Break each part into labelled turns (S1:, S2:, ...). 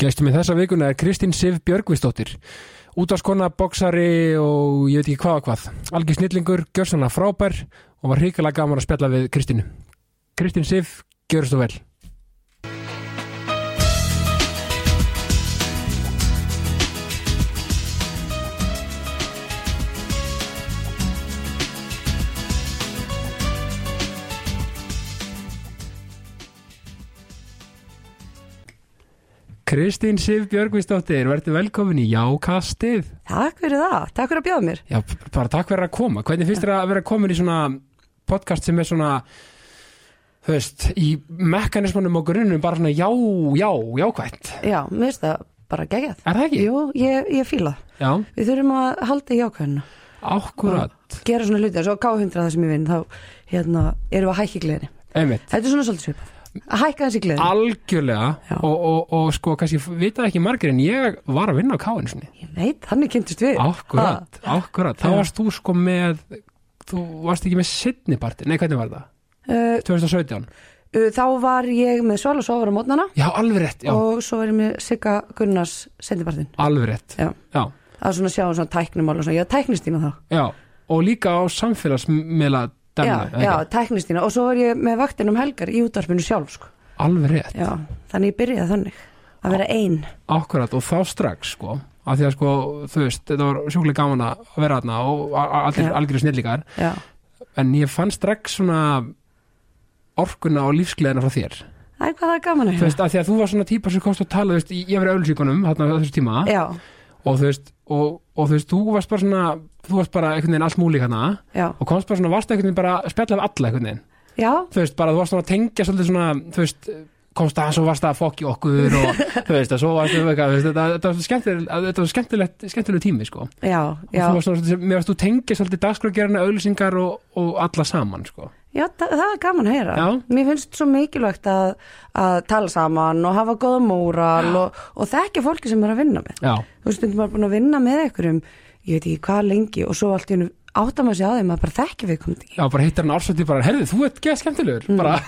S1: Gestur með þessa vikuna er Kristín Sif Björgvistóttir, útaskona, boksari og ég veit ekki hvað og hvað. Algi snillingur, gjörst hana frábær og var hrikalega gaman að spjalla við Kristínu. Kristín Sif, gjörst þú vel. Kristín Sif Björgvistóttir, verður velkomin í Jákastið.
S2: Takk fyrir það, takk fyrir að bjóða mér.
S1: Já, b- bara takk fyrir að koma. Hvernig finnst þér að vera komin í svona podcast sem er svona, þú veist, í mekanismunum og grunnum bara svona já, já, jákvætt.
S2: Já, mér finnst það bara geggjað.
S1: Er það ekki?
S2: Jú, ég, ég fíla. það.
S1: Já,
S2: Við þurfum að halda í ákveðinu.
S1: ákkurat.
S2: Gera svona hluti, svo K100 það sem ég vinn, þá hérna, erum við að hækka í gleðinni.
S1: Einmitt.
S2: Þetta er svona svolítið svipað. Að hækka þessi gleðinni. Já.
S1: Algjörlega og, og, og sko, kannski vita ekki margir en ég var að vinna á káinu sinni.
S2: Ég veit, þannig kynntist við.
S1: Akkurat, akkurat. Þá
S2: Já.
S1: varst þú sko með, þú varst ekki með sittniparti. Nei, hvernig var það?
S2: Uh,
S1: 2017?
S2: uh, þá var ég með Svala Sofar á mótnana
S1: Já, alveg rétt, já,
S2: og svo var ég með Sigga Gunnars sendibartin.
S1: alveg rétt.
S2: Já,
S1: Já,
S2: það var svona að sjá um svona tæknumál og svona, já, tæknistína þá.
S1: já. Og líka á samfélagsmiðla
S2: Já,
S1: demna.
S2: já, tæknistína. Og svo var ég með vaktin um helgar í útarpinu sjálf, sko.
S1: Alveg rétt,
S2: Já, þannig ég byrjaði þannig að vera einn
S1: akkurat. Og þá strax sko, af því að sko, þú veist, þetta var sjúklega gaman að vera þarna og a- a- allir,
S2: Já.
S1: algjörðu snillíkar.
S2: Já,
S1: En ég fann strax svona orkuna og lífsgleðina frá þér.
S2: það er hvað það er gaman að
S1: þú
S2: hérna
S1: veist, að því að þú var svona típa sem komst að tala, þú veist, ég ég var í ölsíkunum þarna á þessu tíma
S2: Já,
S1: og þú veist, og, og þú veist, þú varst bara svona þú varst bara einhvern veginn alls múlík hana
S2: já,
S1: og komst bara svona, varst einhvern veginn bara að spjalla af alla einhvern veginn,
S2: já,
S1: þú veist, bara þú varst svona að tengja svolítið svona, þú veist, komst að svo varst að fokki okkur og þú veist, að svo varst að, þú veist, þetta, þetta var skemmtilegt þetta var skemmtilegt, skemmtilegt tími, sko og
S2: já, já,
S1: þú varst svona, svolítið- mér varst þú tengja svolítið dagskrágerina, ölsíkar og, og alla saman, sko,
S2: já það, það er gaman að heyra
S1: Já.
S2: Mér finnst svo mikilvægt að, að tala saman og hafa góða móral og, og þekkja fólki sem er að vinna með
S1: já,
S2: Þú veist, stundum maður er búin að vinna með einhverjum ég veit ekki hvað lengi og svo allt í hennu átta maður sér á þeim að bara þekkja við komandi
S1: já, bara hittar hann ársvætti bara, herði, þú ert geða skemmtilegur, bara,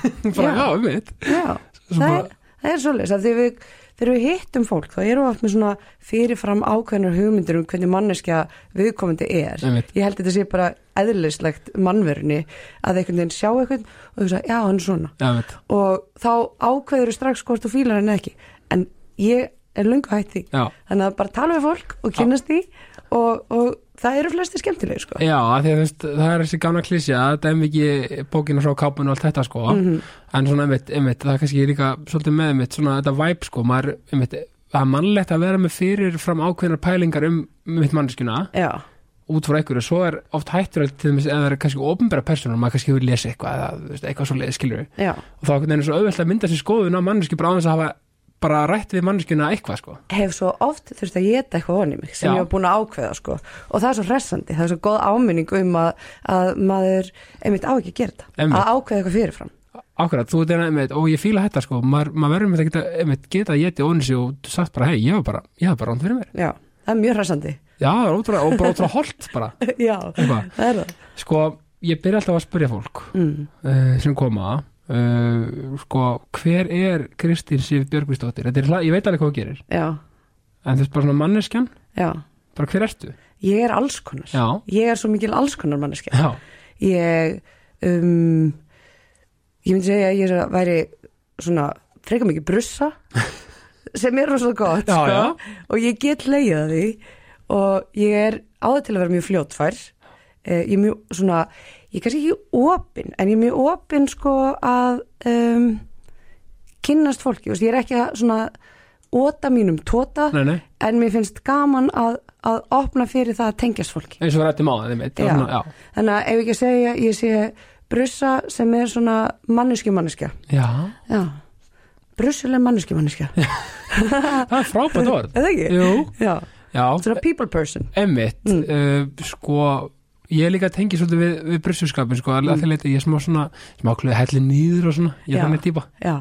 S1: bara, Mm. já, um mitt
S2: Já. Já,
S1: Svo
S2: það
S1: bara-
S2: er, það er svoleiðis að þegar við, þegar við hittum fólk þá erum við oft með svona fyrirfram ákveðnar hugmyndir um hvernig manneskja viðkomandi er.
S1: Einmitt.
S2: Ég held að þetta sé bara eðlislegt mannverunni að einhvern veginn sjá einhvern og þú sagði, já, hann er svona.
S1: Já, veit.
S2: Og þá ákveður strax hvort þú fílar hann ekki. En ég er lungu hætt því.
S1: Já.
S2: Þannig að bara tala við fólk og kynnast því og, og það eru flesti skemmtilegir sko.
S1: Já, af því að þú veist, það er þessi gamla klísja þetta er mikið bókinu frá kápun og allt þetta sko, en svona einmitt, einmitt það er kannski líka svolítið með einmitt svona þetta væp sko, maður, einmitt, það er mannlegt að vera með fyrir fram ákveðnar pælingar um mitt manneskuna,
S2: Já,
S1: út frá einhverju, svo er oft hættur til þess að það er kannski opinbera personur, maður kannski hefur lesið eitthvað eða þú veist, eitthvað svo skilur
S2: já,
S1: og þá er einhvern veginn svo auðvelt að mynda sér skoðun á manneski bara á þess að hafa bara rætt við manneskuna eitthvað sko.
S2: hef svo oft þurft að geta eitthvað onni mig sem
S1: Já.
S2: ég var búin að ákveða sko og það er svo hressandi, það er svo góð áminning um að, að maður einmitt á ekki að gera þetta,
S1: Einmitt.
S2: að ákveða eitthvað fyrirfram
S1: Akkurat, þú ert einmitt, og ég fíla þetta sko, maður, maður verður með þetta einmitt geta að geti ónsi og sagt bara, hei, ég var bara, ég var bara ránd fyrir mér.
S2: já, það er mjög hressandi
S1: Já, það er ótrúlega, og bara ótrúlega holt bara.
S2: já,
S1: Eitthvað.
S2: það er það
S1: Sko, ég byrja alltaf að spyrja fólk
S2: mm.
S1: uh, sem koma, uh, sko, hver er Kristín Sif Björgvistóttir? Þetta er, hla- ég veit alveg hvað þú gerir,
S2: já,
S1: en þetta er bara svona manneskjan,
S2: já,
S1: bara hver ertu?
S2: ég er alls konar
S1: Já,
S2: ég er svo mikil alls konar manneski
S1: já,
S2: ég um, ég myndi segja að ég er- væri svona frekar mikið brussa sem er rosalega gott
S1: Já,
S2: sko,
S1: já.
S2: og ég get leiða því og ég er áður til að vera mjög fljótfær eh, ég er mjög svona ég er kannski ekki opin en ég er mjög opin sko að um, kynnast fólki þú veist, ég er ekki að svona óta mínum tóta
S1: nei, nei,
S2: en mér finnst gaman að, að opna fyrir það að tengjast fólki
S1: eins og við rættum á það, einmitt, það
S2: Já.
S1: er svona, já,
S2: Þannig að ef ég ekki að segja, ég sé brussa sem er svona manneski manneskja.
S1: já,
S2: Já, brussuleg manneski manneskja. Er
S1: það er frábært orð.
S2: það ekki?
S1: Jú,
S2: Já,
S1: já,
S2: svona people person.
S1: Emmitt,
S2: Mm.
S1: uh, sko ég er líka að tengja svolítið við, við brusjurskapin sko, mm. að því leiti, ég er smá svona smákluði helli nýður og svona, ég er
S2: Já.
S1: þannig típa
S2: Já,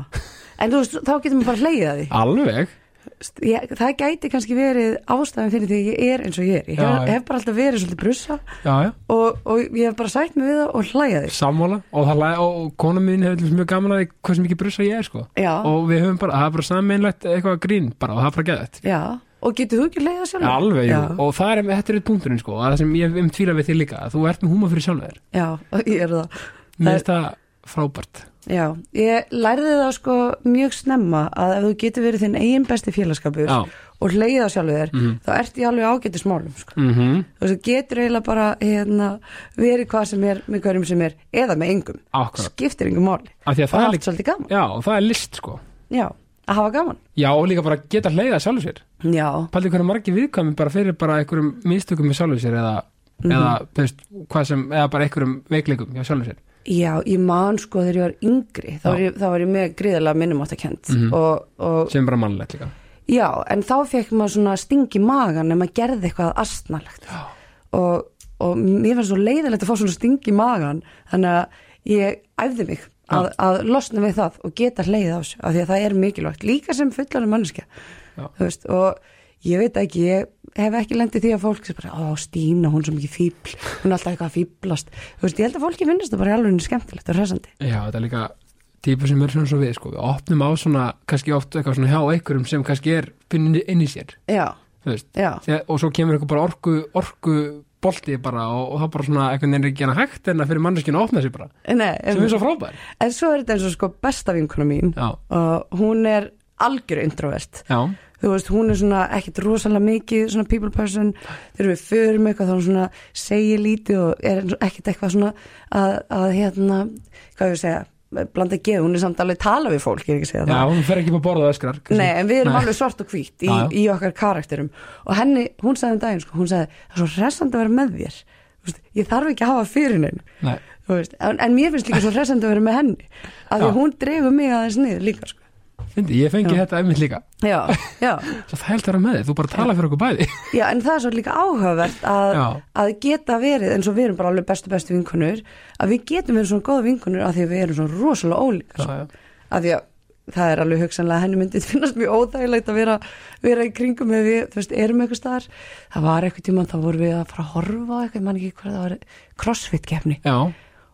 S2: en þú veist, þá getum við bara hlegið að því.
S1: Alveg,
S2: st- ég, það gæti kannski verið ástæðan fyrir því að ég er eins og ég er ég hef,
S1: Já, já.
S2: hef bara alltaf verið svolítið brussa
S1: já, já,
S2: og, og ég hef bara sætt mig við það og hlæja því
S1: sammála og, það lag- og, og kona mín hefur til dæmis mjög gaman að því hversu mikið brusa ég er sko
S2: já, og,
S1: og við höfum bara, það er bara sammeinlegt eitthvað grín bara og það er bara geðið
S2: já, og getur þú ekki hlæjað sjálf?
S1: Alveg, jú,
S2: já,
S1: og það er, þetta er eitt punkturinn sko, að það sem ég um tvíla við þig líka að þú ert með húma fyrir sjálf þér
S2: já, ég er það
S1: mér finnst það frábært
S2: já, ég lærði það sko mjög snemma að ef þú getur verið þinn eigin besti félagskapur
S1: Já. Mhm.
S2: og hlæjað sjálf þér þá ert ég alveg ágætis málum sko.
S1: mm
S2: þú veist, þú getur eiginlega bara hérna, verið hvað sem er með hverjum sem er eða með engum,
S1: Akkurat,
S2: skiptir engum máli
S1: af því að
S2: og
S1: það er
S2: allt
S1: líka
S2: svolítið gaman
S1: Já, og það er list sko
S2: já, að hafa gaman
S1: Já, og líka bara geta hleiða sjálfur sér
S2: já,
S1: Paldi hvernig margir viðkvæmi bara fyrir bara einhverjum mistökum með sjálfur sér eða, eða, þú veist, hvað sem, eða bara einhverjum veikleikum hjá sjálfur sér
S2: já, ég man sko þegar ég var yngri þá var ég, þá var ég með gríðarlega minnumáttakend
S1: Mhm.
S2: og, og
S1: sem er bara mannlegt líka
S2: já, en þá fekk maður svona stingi í magan ef maður gerði eitthvað astnalegt já. og, og mér fannst svo leiðilegt að fá svona stingi í magan þannig að ég æfði mig að, að losna við það og geta hleið á þessu af því að það er mikilvægt, líka sem fullanum manneskja
S1: Já.
S2: þú veist, og ég veit ekki, ég hef ekki lendið því að fólk sem bara, ó Stína, hún er svo mikið fíbl hún er alltaf eitthvað að fíblast þú veist, ég held að fólki finnist það bara í alveg skemmtilegt og hressandi
S1: Já, þetta er líka típa sem er svona svo við sko Við opnum á svona, kannski oft eitthvað svona hjá einhverjum sem kannski er pinni inn í sér
S2: já,
S1: þú veist,
S2: já,
S1: Þegar, og svo kemur eitthvað bara orku, orku bolti bara og, og það bara svona eitthvað neyrið gera hægt en að fyrir manneskinu að opna sér bara
S2: nei
S1: sem
S2: em-
S1: er svo frábær
S2: en svo er þetta eins og sko besta vinkona mín
S1: Já,
S2: og hún er algjör introvert
S1: já,
S2: þú veist, hún er svona ekkit rosalega mikið svona people person, þegar við förum eitthvað þá hún svona segir lítið og er eins og ekkit eitthvað svona að, að hérna, hvað ég að segja blanda geð, hún er samt alveg að tala við fólk ég er ekki að segja
S1: já,
S2: það
S1: hún fer ekki bara að borða og öskrar kannski.
S2: Nei, en við erum alveg svart og hvít í,
S1: Já, já.
S2: í okkar karakterum og henni, hún sagði um daginn sko, hún sagði, það er svo hressandi að vera með þér Þú veist, ég þarf ekki að hafa fyrir neinu
S1: Nei.
S2: Þú veist, en, en mér finnst líka svo hressandi að vera með henni af því
S1: Já.
S2: að hún dreifur mig aðeins niður líka sko.
S1: Fyndi, ég fengi þetta einmitt líka
S2: já, já,
S1: Svo það held að vera með þig, þú bara tala fyrir okkur bæði
S2: já, en það er svo líka áhugavert að,
S1: Já.
S2: að geta verið eins og við erum bara alveg bestu bestu vinkunur að við getum verið svona góða vinkunur af því að við erum svona rosalega ólíkar sko.
S1: Já, já.
S2: af því að það er alveg hugsanlega að henni myndið finnast mjög óþægilegt að vera, vera í kringum ef við, þú veist, erum eitthvað staðar það var eitthvað tíma, þá vorum við að fara að horfa á eitthvað, ég man ekki hvað það var crossfit kefni
S1: Já,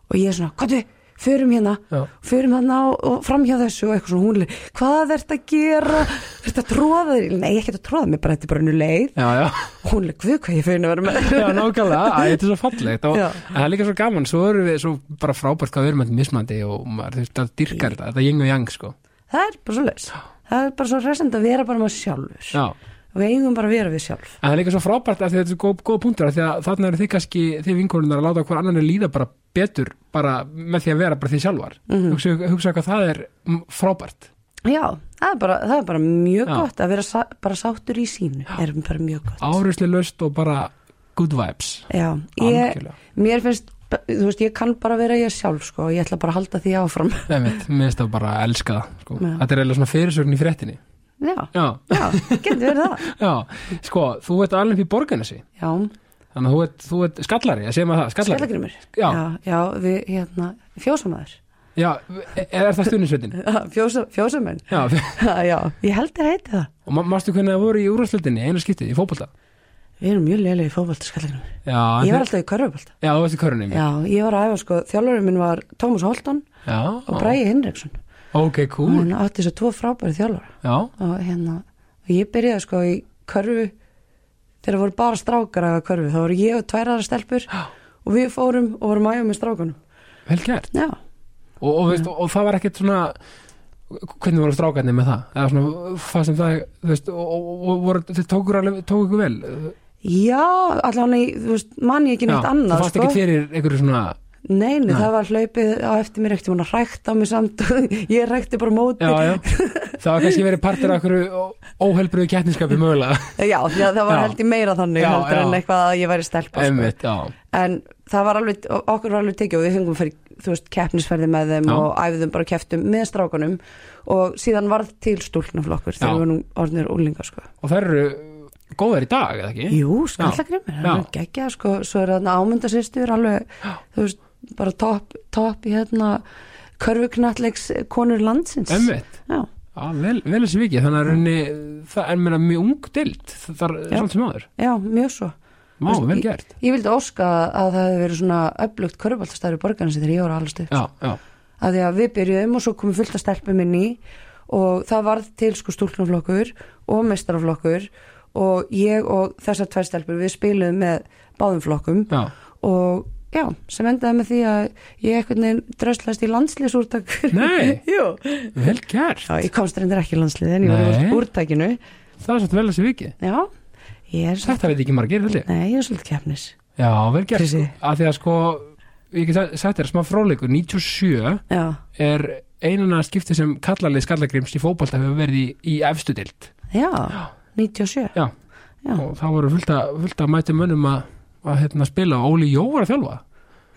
S2: og ég er svona, hvað þau, förum hérna
S1: Já.
S2: förum hérna og, og fram hjá þessu og eitthvað svona húnlega, hvað ert að gera ert að tróða þér, nei, ekki að tróða mér bara þetta er bara einu leið,
S1: já, já
S2: húnlega, guð hvað ég feina að vera með
S1: Já, nákvæmlega, Æ, þetta er svo fallegt og
S2: Já.
S1: en það er líka svo gaman, svo erum við svo bara frábært hvað við erum alltaf mismandi og maður, þú veist, það dyrkar þetta, þetta er ying og yang sko.
S2: það er bara svo leis, það er bara svo resend að vera bara maður sjálfur
S1: Já,
S2: og við eigum bara að vera við sjálf
S1: en það er líka svo frábært af því að þetta er góð, góð punktur af því að þarna eru þið kannski, þið vinkonurnar að láta hver annan líða bara betur bara með því að vera bara því sjálfar hugsa, hugsa hvað það er mm, frábært
S2: já, það er bara, það er bara mjög
S1: Já.
S2: gott að vera sa bara sáttur í sínu er bara mjög gott
S1: Árisli löst og bara good vibes
S2: já, ég,
S1: Algjörlega.
S2: mér finnst þú veist, ég kann bara vera ég sjálf sko, og ég ætla bara að halda því áfram
S1: Nei, mitt, minnst það bara að elska það sko.
S2: Já.
S1: Þetta er eiginlega svona fyrirsögn í fréttinni
S2: já,
S1: Já,
S2: já, getur verið það
S1: já, sko, þú ert alveg í borganessi
S2: já,
S1: Þannig að þú ert, þú ert skallari, ég segi maður það, skallari.
S2: Skellagrimur
S1: Já.
S2: já, já, við hérna, fjósamæður
S1: Já, eða er það stuðnisveitin?
S2: Fjósa, Fjósamenn
S1: Já,
S2: Ha, Já, ég held þér heiti það
S1: og ma mástu hvernig það voru í úrvarslutinni, einu skiptið, í fótbolta?
S2: Við erum mjög leilig í fótbolta Skellagrimur
S1: Já,
S2: Ég
S1: var...
S2: var alltaf í körfubólta
S1: já þú veist í körunni.
S2: Já, ég var að æfa sko, þjálfurinn minn var Tómas Holton
S1: já.
S2: og Mm. Bræði Hinriksson
S1: Ok,
S2: og
S1: cool.
S2: hann átti þess að tvo frábæri þjálfur
S1: Já,
S2: og hérna, og ég byrjaði sko í körfu þegar voru bara strákar að hafa körfu, þá voru ég og tværaðar stelpur og við fórum og vorum að æfa með strákunum
S1: vel gert.
S2: Já,
S1: Og, og, veist, og það var ekkert svona, hvernig voru strákarnir með það? Eða svona, það sem það, þú veist, og, og, og voru, þið tókur alveg, tók ykkur vel?
S2: já, allan í, þú veist, mann ég ekki neitt
S1: það
S2: annað sko.
S1: fannst ekki fyrir einhverju svona,
S2: Nei,
S1: Nei.
S2: nei, það var hlaupið á eftir mér ekkert, hún að rækta á mig samt ég rækti bara á móti
S1: já, já, það var kannski verið partur af einhverju óhelbriðu kettniskapi mögulega.
S2: Já, því að það var
S1: Já.
S2: held í meira þannig
S1: Já,
S2: heldur
S1: já.
S2: en eitthvað að ég væri stelpa sko.
S1: Einmitt, já.
S2: en það var alveg, okkur var alveg tekið og við fengum fyrir, þú veist, keppnisferði með þeim
S1: Já.
S2: og æfðum bara keftum með strákunum og síðan varð til stúlknaflokkur
S1: Já.
S2: þegar við nú orðinir úlingar sko.
S1: og þær eru góðar í dag, eða ekki?
S2: Jú, skallagrimur,
S1: Já.
S2: hann er geggjað sko, svo er þarna ámynda sýstur alveg, þú veist, bara topp top, hérna, körfuknallegs konur landsins
S1: Ömmit,
S2: Já,
S1: já, vel, vel þessi vikið þannig að rauninni það er meina mjög ung dild það er
S2: Já.
S1: svolítið sem áður
S2: já, mjög svo
S1: Má,
S2: Þú veist,
S1: vel gert
S2: Ég vildi óska að það hefði verið svona öflugt körfbaltastæður í borgarinsi þegar ég var allast upp.
S1: Já, já,
S2: Af því að við byrjuðum og svo komum fullt að stelpum inn í og það varð til sko stúlknaflokkur og mestaraflokkur og ég og þessar tvær stelpur við spiluðum með báðum flokkum
S1: já,
S2: og já, sem endaði með því að ég einhvern veginn dröslast í landslýsúrtakur.
S1: Nei.
S2: Jú.
S1: vel gert
S2: Já, ég komst reyndir ekki í landslið en ég var
S1: Nei.
S2: í úrtakinu.
S1: Það er svolítið vel að sé vikið
S2: Já, ég er svolítið,
S1: Þetta veit ekki margir, held ég
S2: nei, ég er svolítið keppnis.
S1: Já, vel gert
S2: Krissi.
S1: sko, að því að sko ég get sagt- sagt þér, smá fróleikur 97
S2: Já,
S1: er einana skipti sem kallarlið skallagrims í fótbolta hefur verið í, í efstu dild
S2: já, 97.
S1: Já,
S2: Já.
S1: og það voru fullt að, fullt að mæti mönnum að, að hérna, spila og Óli Jó var að þjálfa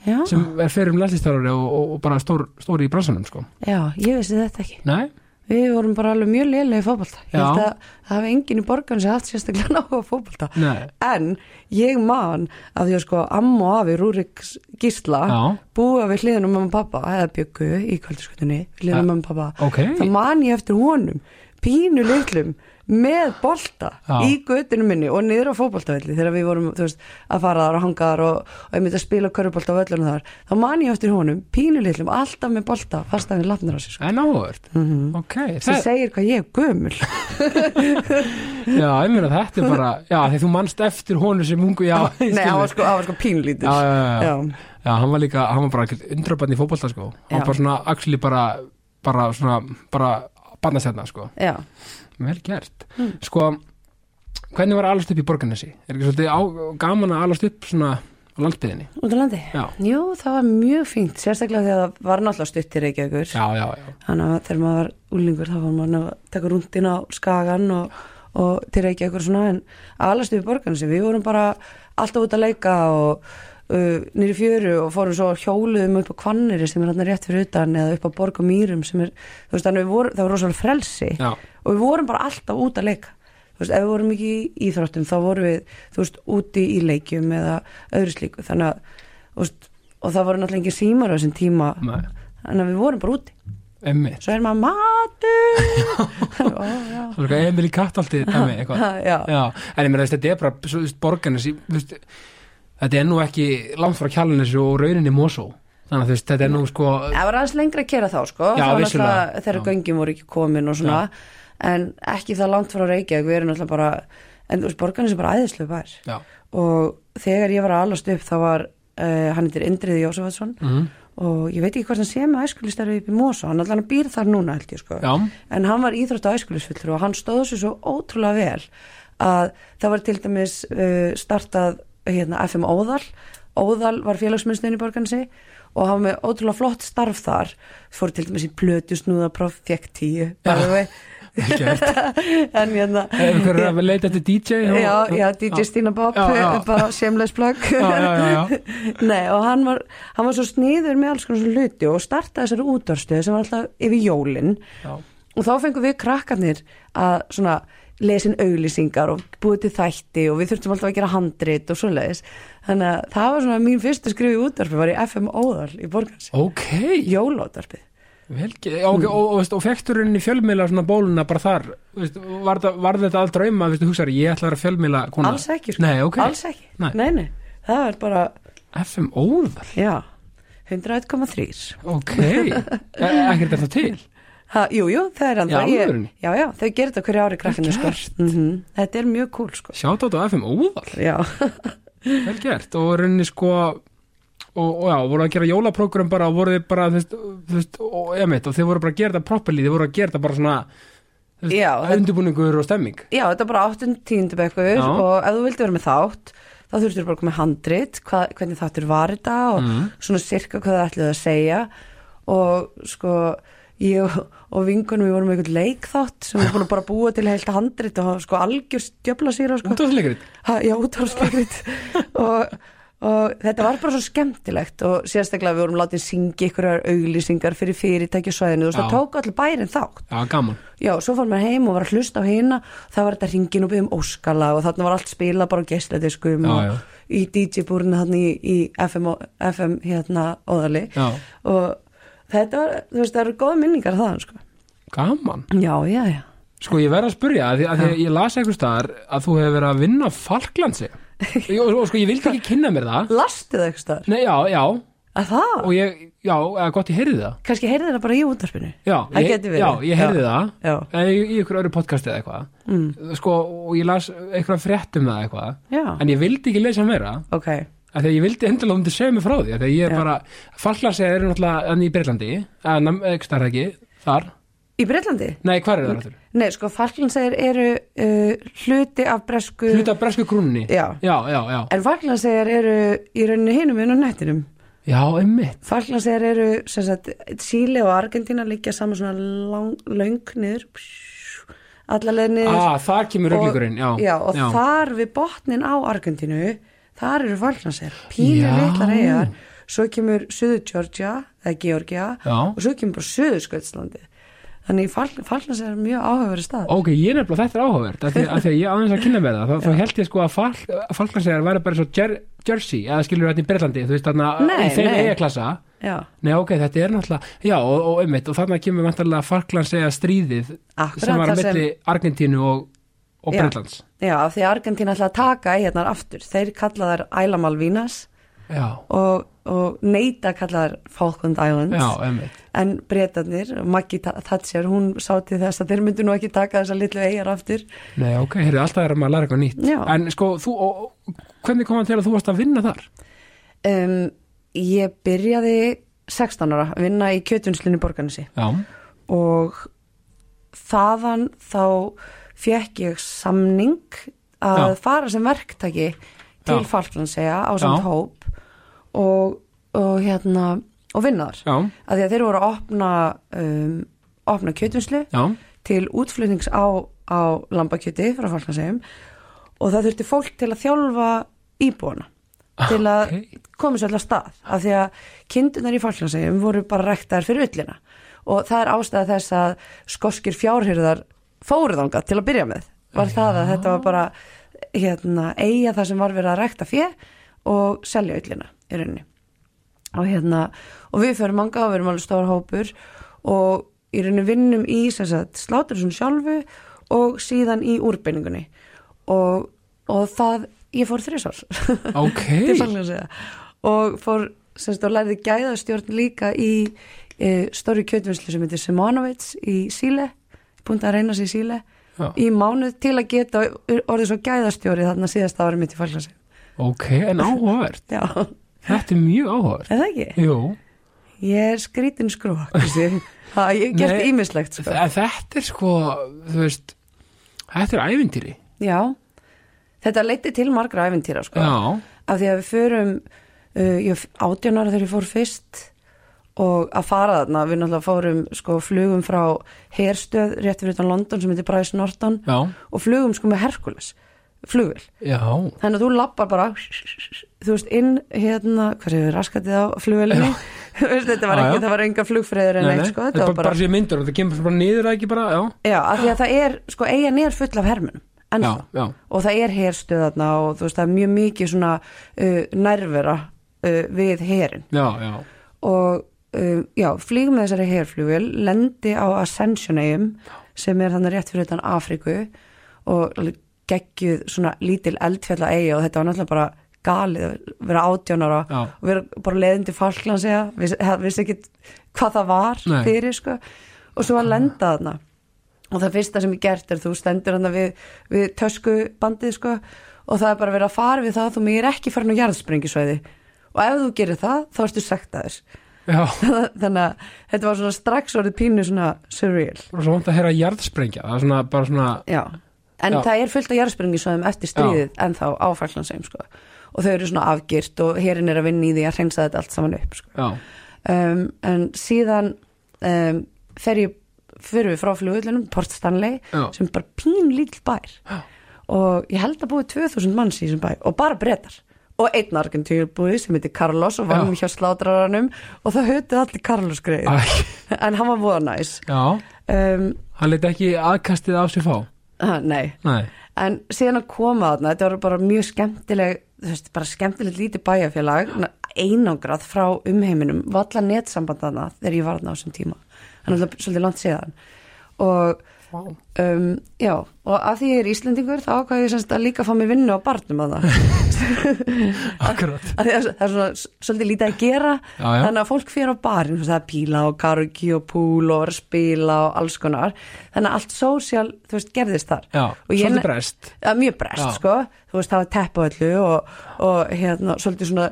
S2: Já,
S1: sem er fyrir um landslýstarari og, og, og bara stór, stóri í bransanum sko.
S2: já, ég vissi þetta ekki.
S1: Nei,
S2: Við vorum bara alveg mjög lélega í fótbolta. Ég
S1: Já.
S2: held að það hafi enginn í borgarn sem haft sérstaklega náhuga fótbolta.
S1: nei,
S2: En ég man að því að sko amma og afi Rúriks Gísla
S1: Já.
S2: búa við hliðinu mamma og pappa, eða byggu í kvöldiskutinni, hliðinu
S1: Ja.
S2: mamma og pappa.
S1: ok
S2: Það man ég eftir honum, pínu litlum, með bolta
S1: Já.
S2: í göttinu minni og niður á fótboltavelli þegar við vorum þú veist, að fara þar og hanga þar og, og einmitt að spila körfubolta á völlunum þar. Þá man ég eftir honum, pínu litlum, alltaf með bolta, fast að við lafnir á sig. Sko.
S1: En áhugavert,
S2: Mhm.
S1: ok
S2: sem
S1: það,
S2: segir hvað ég er gömul
S1: Já, ég meina þetta er bara Já, þegar þú manst eftir honu sem hungu Já, ég
S2: Nei,
S1: skil
S2: hann var
S1: þig.
S2: sko, hann var sko pínlítil
S1: já, já, já, já.
S2: Já.
S1: já, hann var líka, hann var bara ekkert undrabarn í fótbolta sko Hann
S2: Já.
S1: var bara svona, actually bara bara svona, bara barnastjarna sko,
S2: Já.
S1: vel gert
S2: Mm.
S1: Sko, hvernig var að alast upp í borgarnesi? Er ekki svolítið á, gaman að alast upp svona á landsbyðinni?
S2: Út á landi?
S1: Já.
S2: Jú, það var mjög fínt Sérstaklega því að það var náttúrulega stutt til Reykjavíkur
S1: Já, já, já,
S2: Þannig að þegar maður var úlingur þá var maður að taka rúndin á skagan og, og til Reykjavíkur svona en alast við borgarna sem við vorum bara alltaf út að leika og uh, nýri fjöru og fórum svo hjóluðum upp á Hvanneri sem er hann rétt fyrir utan eða upp á Borg og Mýrum sem er, þú veist, þannig að við vorum, það var rosalega frelsi
S1: já,
S2: og við vorum bara alltaf út að leika þú veist, ef við vorum ekki í íþróttum þá vorum við, þú veist, úti í leikjum eða öðru slíku, þannig að þú veist, og það voru náttúrulega engin símar á þessum tíma,
S1: Nei.
S2: þannig að við vorum bara úti
S1: emmitt
S2: svo er maður matur Ó, já.
S1: Það er eitthvað Emil í Kattaldi dæmi, eitthvað.
S2: Já.
S1: Já. En ég meina þess, þetta er bara svo, þú veist, borgarnes í- þú veist, Þetta er nú ekki langt frá kjálunnes og rauninni Mosó Þannig að þú veist, þetta er nú sko
S2: það var aðeins lengra að kera þá, sko
S1: Já,
S2: það var
S1: vissulega.
S2: náttúrulega þegar
S1: Já.
S2: göngin voru ekki komin og svona, en ekki það langt frá Reykjavík, við erum náttúrulega bara en þú veist, borgarnir sem bara æðislega bær
S1: Já,
S2: og þegar ég var að alast upp þá var uh, hann heitir Indriði Jósafatsson
S1: Mhm.
S2: og ég veit ekki hvort hann sé með æskulistarfi upp í Mosa, hann allan býr þar núna held ég sko,
S1: Já.
S2: en hann var íþrótt og æskulisfullur og hann stóð sér svo ótrúlega vel að það var til dæmis uh, startað hérna FM Óðal Óðal var félagsmyndstöðin í borgansi og hann var með ótrúlega flott starf þar fór til dæmis í plötu snúðapróf fekk tíu, bara við
S1: vel gert
S2: en hérna
S1: Ef ykkur er að leita eftir DJ þá-
S2: Já, já, DJ Stína Bob
S1: Já, já.
S2: bara shameless plug
S1: Já, já, já, já.
S2: Nei, og hann var, hann var svo sniður með alls konar svona hluti og startaði þessari útvarstöð sem var alltaf yfir jólin
S1: Já.
S2: og þá fengum við krakkarnir að svona lesin auglýsingar og búið til þætti og við þurftum alltaf að gera handrit og svoleiðis þannig að það var svona mín fyrsta skrif í útvarpi var í FM Óðal í Borgans
S1: Ok,
S2: Jólótvarpið
S1: vel gert og, og, og, veist, og fekturinn í fjölmiðla svona bóluna bara þar veist, var, það, var þetta all drauma, veist, hugsaður, ég ætla að vera fjölmiðla kona
S2: Alls ekki, sko.
S1: Nei, ok,
S2: alls ekki
S1: Nei.
S2: nei, nei, það var bara,
S1: FM óðal
S2: já 101,3
S1: Ok, E- ekkert er það til
S2: Ha, jú, jú, það er enda
S1: Já,
S2: ég,
S1: alvörinni?
S2: já, já, þau gerir þetta hverju ári krakkinu sko.
S1: Gert.
S2: mm Þetta er mjög cool sko.
S1: Sjátátt á FM óðal
S2: Já,
S1: Vel gert og rauninni sko og, og já, voru að gera jólaprógram bara og voru þið bara, þú veist, þú veist og, emitt, og þið voru bara að gera þetta properly, þið voru að gera þetta bara svona þú veist,
S2: Já, þetta-
S1: undirbúningur og stemming
S2: já þetta er bara 8-10 bekkur
S1: Já.
S2: og ef þú vildi vera með þátt þá þurftur bara að koma með handrit hva, hvernig þáttur var þetta og svona sirka hvað það ætlaði að segja og sko ég og- og vingunum við vorum með einhvern leikþátt sem við búin að bara búa til heilt handrit og sko algjör stjöfla síra sko.
S1: Útvarsleikrit
S2: ha, já, útvarpsleikrit og, og þetta var bara svo skemmtilegt og sérstaklega við vorum látið syngja einhverjar auglýsingar fyrir fyrirtæki á svæðinu og það
S1: Já.
S2: tók allir bærin þátt
S1: Já, gaman
S2: já, svo fór maður heim og var að hlusta á hina það var þetta hringin og byggðum óskala og þarna var allt spila bara á gestladiskum
S1: Já,
S2: og
S1: já.
S2: í DJ-búrinu þarna í, í FM, og- FM hérna óðali
S1: Já.
S2: og þetta var, þú veist, það eru góða minningar þaðan sko.
S1: Gaman
S2: já, já, já
S1: Sko ég verð að spurja að því að því að ég las einhvers staðar að þú hefur verið að vinna á Falklandsi Jó, og sko ég vildi ekki kynna mér það
S2: Lastu það eitthvað staðar?
S1: Nei, já, já,
S2: Að það?
S1: og ég, já, eða gott ég heyrði það
S2: Kanski heyrði það bara í útarpinu?
S1: Já,
S2: Það
S1: ég,
S2: gæti verið.
S1: já, ég heyrði
S2: Já.
S1: það
S2: Já.
S1: Eða í, í ykkur öðru podcasti eða eitthvað mm. Sko, og ég las eitthvað frétt um það eitthvað
S2: Já.
S1: En ég vildi ekki lesa meira
S2: Ok,
S1: af því að ég vildi endilega um þetta segja mig frá því af því að ég er
S2: Já.
S1: bara, Falklandsi er náttúrulega enn í Breitlandi, en ekki starf ekki þar,
S2: í Breitlandi?
S1: nei, hvar er það náttúrulega?
S2: Nei, sko, Falklandsæðir eru uh, hluti af bresku
S1: Hluta af bresku krúnni
S2: Já.
S1: já, já, já,
S2: En Falklandsæðir eru í rauninni hinum en á nettinum
S1: já einmitt
S2: Falklandsæðir eru, sem sagt, Síle og Argentína liggja saman svona lang, löng niður psjú, alla leið niður
S1: ah, þar kemur röglingurinn, já,
S2: já, og þar við botnin á Argentínu þar eru Falklandsæðir, pínu
S1: Já.
S2: litlar eigar svo kemur Suður Georgia eða Georgia
S1: Já.
S2: og svo kemur bara Suður Sköldslandið þannig Falklandsæðir er mjög áhugaveri stað
S1: ok, ég er nefnilega, þetta er áhugavert af því af því að ég aðeins að kynna með það, þá, þá held ég sko að Falk, Falklandsæðar væri bara svo Jer Jersey, eða skilur þetta í Breitlandi þú veist þarna,
S2: Nei,
S1: í þeim
S2: nei.
S1: eigaklassa
S2: Já,
S1: Nei, ok, þetta er náttúrulega, já, og, og einmitt, og þarna kemur vantarlega Falklandsæðar stríðið
S2: Akkurat,
S1: sem var
S2: þar
S1: að
S2: sem-
S1: milli Argentínu og, og
S2: Já.
S1: Breitlands
S2: Já, af því að Argentín ætla að taka ægjarnar aftur. Þeir kalla þær Æla Malvinas
S1: já,
S2: og, og neita kalla þær Falkland Islands.
S1: já, einmitt
S2: En breytanir, Maggie Ta- Thatcher, hún sá til þess að þeir myndu nú ekki taka þessar litlu eigjar aftur.
S1: Nei, ok, heyrðu, alltaf er maður að læra eitthvað nýtt
S2: Já.
S1: En sko, þú, og, og, hvernig kom hann til að þú varst að vinna þar?
S2: Um, ég byrjaði 16 ára að vinna í kjötunslunni borganessi
S1: Já,
S2: og þaðan þá fekk ég samning að
S1: Já.
S2: fara sem verktaki til
S1: Já.
S2: Falklandsega á
S1: Já.
S2: samt hóp og, og hérna og vinnaðar
S1: já,
S2: að því að þeir voru að opna um, opna kjötvinslu
S1: já,
S2: til útflutnings á, á lambakjöti frá Falklandsegum og það þurfti fólk til að þjálfa íbúana til að
S1: Ok.
S2: koma sér alltaf stað af því að kindunar í Falklandsegum voru bara rektaðar fyrir ullina og það er ástæða þess að skoskir fjárhyrðar fóruðanga til að byrja með var það að þetta var bara hérna, eiga það sem var verið að rekta fjö og selja ullina í rauninni og hérna og við fyrir manga og við erum alveg stór hópur og í rauninni vinnum í sem sagt, slátursun sjálfu og síðan í úrbeiningunni og, og það, ég fór þrísár
S1: ok
S2: til Falklandseyja og fór sem sagt og lærði gæðastjórn líka í e, stóri kjötvinnslu sem heitir Simonovits í Síle búin að reyna sig í Síle
S1: Já.
S2: í mánuð til að geta orðið svo gæðastjóri þarna síðasta ára mitt í Falklandseyja
S1: Ok, en áhugavert.
S2: Já, er
S1: Þetta er mjög áhugavert.
S2: það ekki?
S1: Jú,
S2: Ég er skrítin skrúa, Kristi. Ha, ég hef gert
S1: Nei.
S2: ímislegt, sko.
S1: en þetta er sko, þú veist, þetta er ævintýri.
S2: Já, þetta leiti til margra æfintýra, sko.
S1: Já,
S2: Af því að við förum, uh, ég var 18 ára þegar ég fór fyrst og að fara þarna, við náttúrulega fórum, sko, flugum frá herstöð rétt fyrir utan London sem heitir Bryce Norton
S1: já,
S2: og flugum sko með Hercules, flugvel.
S1: já,
S2: Þannig að þú lappar bara, þú veist, inn hérna, hvað hefur raskatið á flugvelinni? þetta var
S1: Já,
S2: ekki,
S1: já.
S2: það var enga flugfræður en eitt, sko.
S1: þetta er bara, bara sér myndur og það kemur bara niður að ekki bara, já,
S2: Já, af því að það er, sko, eigin er full af hermunum
S1: já,
S2: ennþá
S1: já,
S2: og það er herstöðarna og þú veist, það er mjög mikið svona uh, nærvera uh, við herin
S1: já, já,
S2: og uh, já, flýgum með þessari herflugil, lendi á Ascension-eigum sem er þannig rétt fyrir utan Afriku og alveg geggjuð svona lítil eldfjalla eigi og þetta var náttúrulega bara galið að vera átjónara
S1: Já.
S2: og vera bara leiðin til Falklands eða vissi, það vissi ekki hvað það var
S1: Nei.
S2: fyrir sko og svo að lenda þarna og það fyrsta sem ég gert er þú stendur hann við, við töskubandið sko og það er bara verið að fara við það þú mig er ekki farin á jarðsprengisvæði og ef þú gerir það þá ertu sektaður
S1: já.
S2: þannig að þetta var svona strax orðið pínu svona surreal
S1: Bara svo vant að heyra jarðsprengja, það er svona, bara svona,
S2: já. en
S1: Já.
S2: það er fullt af jarðsprengisvæðum eftir stríðið en þá á Falklandsheim sko. og þau eru svona afgirt og herin er að vinna í því að hreinsa þetta allt saman upp sko.
S1: já,
S2: um, en síðan um, fer ég fyrir við frá flugullinum, Port Stanley
S1: Já.
S2: sem er bara pín lítill bær
S1: Já.
S2: og ég held að búið 2000 manns í þessum bæ og bara breytar og einn argentíubúi sem heitir Carlos og vann hjá slátraranum og það hötuð allir Carlos greið
S1: Æ,
S2: en hann var voða næs
S1: já,
S2: um,
S1: hann leiti ekki aðkastið á sér fá,
S2: ha, nei
S1: nei,
S2: en síðan að koma þarna, þetta var bara mjög skemmtileg þú veist, bara skemmtilegt lítið bæjarfélag einangrað frá umheiminum valla netsamband þarna þegar ég var þarna á þessum tíma þannig að það er svolítið langt síðan og
S1: Vá.
S2: um, já, og af því ég er Íslendingur þá ákvað ég semst að líka fá mér vinnu á barnum að það
S1: Akkurat
S2: Af því að það er svona s- svolítið lítið að gera
S1: Já, já,
S2: þannig að fólk fyrir á barinn þú veist, það er píla og karaoke og púl og var að spila og alls konar þannig að allt sósíal, þú veist, gerðist þar
S1: já,
S2: og ég-
S1: svolítið brest
S2: það er mjög brest,
S1: Já.
S2: sko þú veist, það var tepp á öllu og, og hérna, svolítið svona,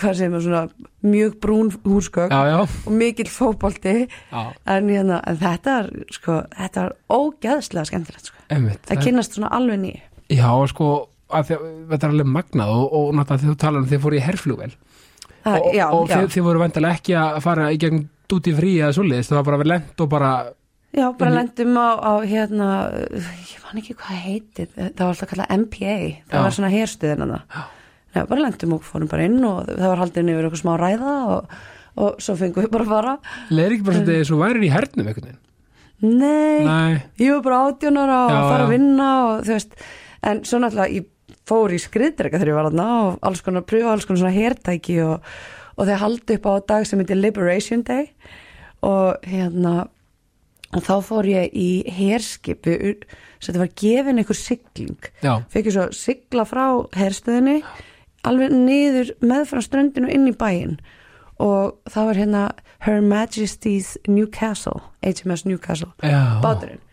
S2: hvað segir maður svona, mjög brún húsgögg
S1: Já, já,
S2: og mikill fótbolti
S1: já,
S2: en, hérna, en þetta er, sko, þetta er ógeðslega skemmtilegt, sko
S1: einmitt
S2: að kynnast svona alveg nýju
S1: Já, sko, að því, að- þetta er alveg magnað og, og náttúrulega þegar þú talar um þið fóru í herflugvel
S2: Það-
S1: og,
S2: já,
S1: og
S2: já,
S1: Þið, þið voru vantilega ekki að fara í gegn dúti frí eða svoleiðist, það var bara að vera lent og bara
S2: já, bara
S1: Mhm.
S2: lendum á, á hérna, ég man ekki hvað heiti það var alltaf kallað MPA það
S1: Já.
S2: var svona herstuðin hana Já, bara lendum og fórum bara inn og það var haldin yfir eitthvað smá ræða og, og svo fengum við bara að fara
S1: leiðir ekki bara svolítið eins og værir í hernum einhvern veginn.
S2: Mm. Nei,
S1: Nei,
S2: ég var bara átjónara og
S1: Já,
S2: að fara að
S1: já.
S2: vinna og þú veist, en svo náttúrulega ég fór í skriðdrega þegar ég var þarna og alls konar pröfa, alls konar svona hertæki og, og þeir haldi upp á dag sem heitir Liberation Day og hérna og þá fór ég í herskipi sem þetta var gefin einhver sigling
S1: já,
S2: fekk ég svo sigla frá herstöðinni alveg niður með frá ströndinu inn í bæinn og þá er hérna Her Majesty's Newcastle HMS Newcastle
S1: já
S2: báturinn